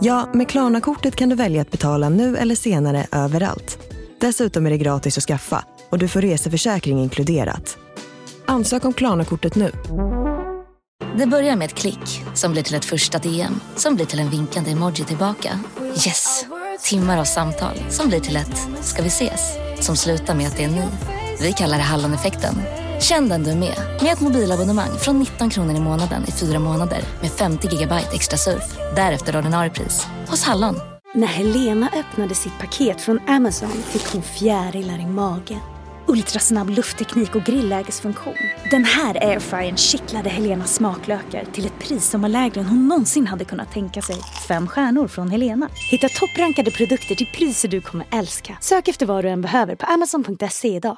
S1: Ja, med Klarna-kortet kan du välja att betala nu eller senare överallt. Dessutom är det gratis att skaffa och du får reseförsäkring inkluderat. Ansök om Klarna-kortet nu.
S8: Det börjar med ett klick som blir till ett första DM som blir till en vinkande emoji tillbaka. Yes! Timmar av samtal som blir till ett “ska vi ses?” som slutar med att det är ni. Vi kallar det Halloneffekten. Känn den du är med, med ett mobilabonnemang från 19 kronor i månaden i fyra månader med 50 gigabyte extra surf. Därefter ordinarie pris, hos Hallon.
S9: När Helena öppnade sitt paket från Amazon fick hon fjärilar i magen. Ultrasnabb luftteknik och grillägesfunktion. Den här airfryern kittlade Helenas smaklökar till ett pris som var lägre än hon någonsin hade kunnat tänka sig. Fem stjärnor från Helena. Hitta topprankade produkter till priser du kommer älska. Sök efter vad du än behöver på amazon.se idag.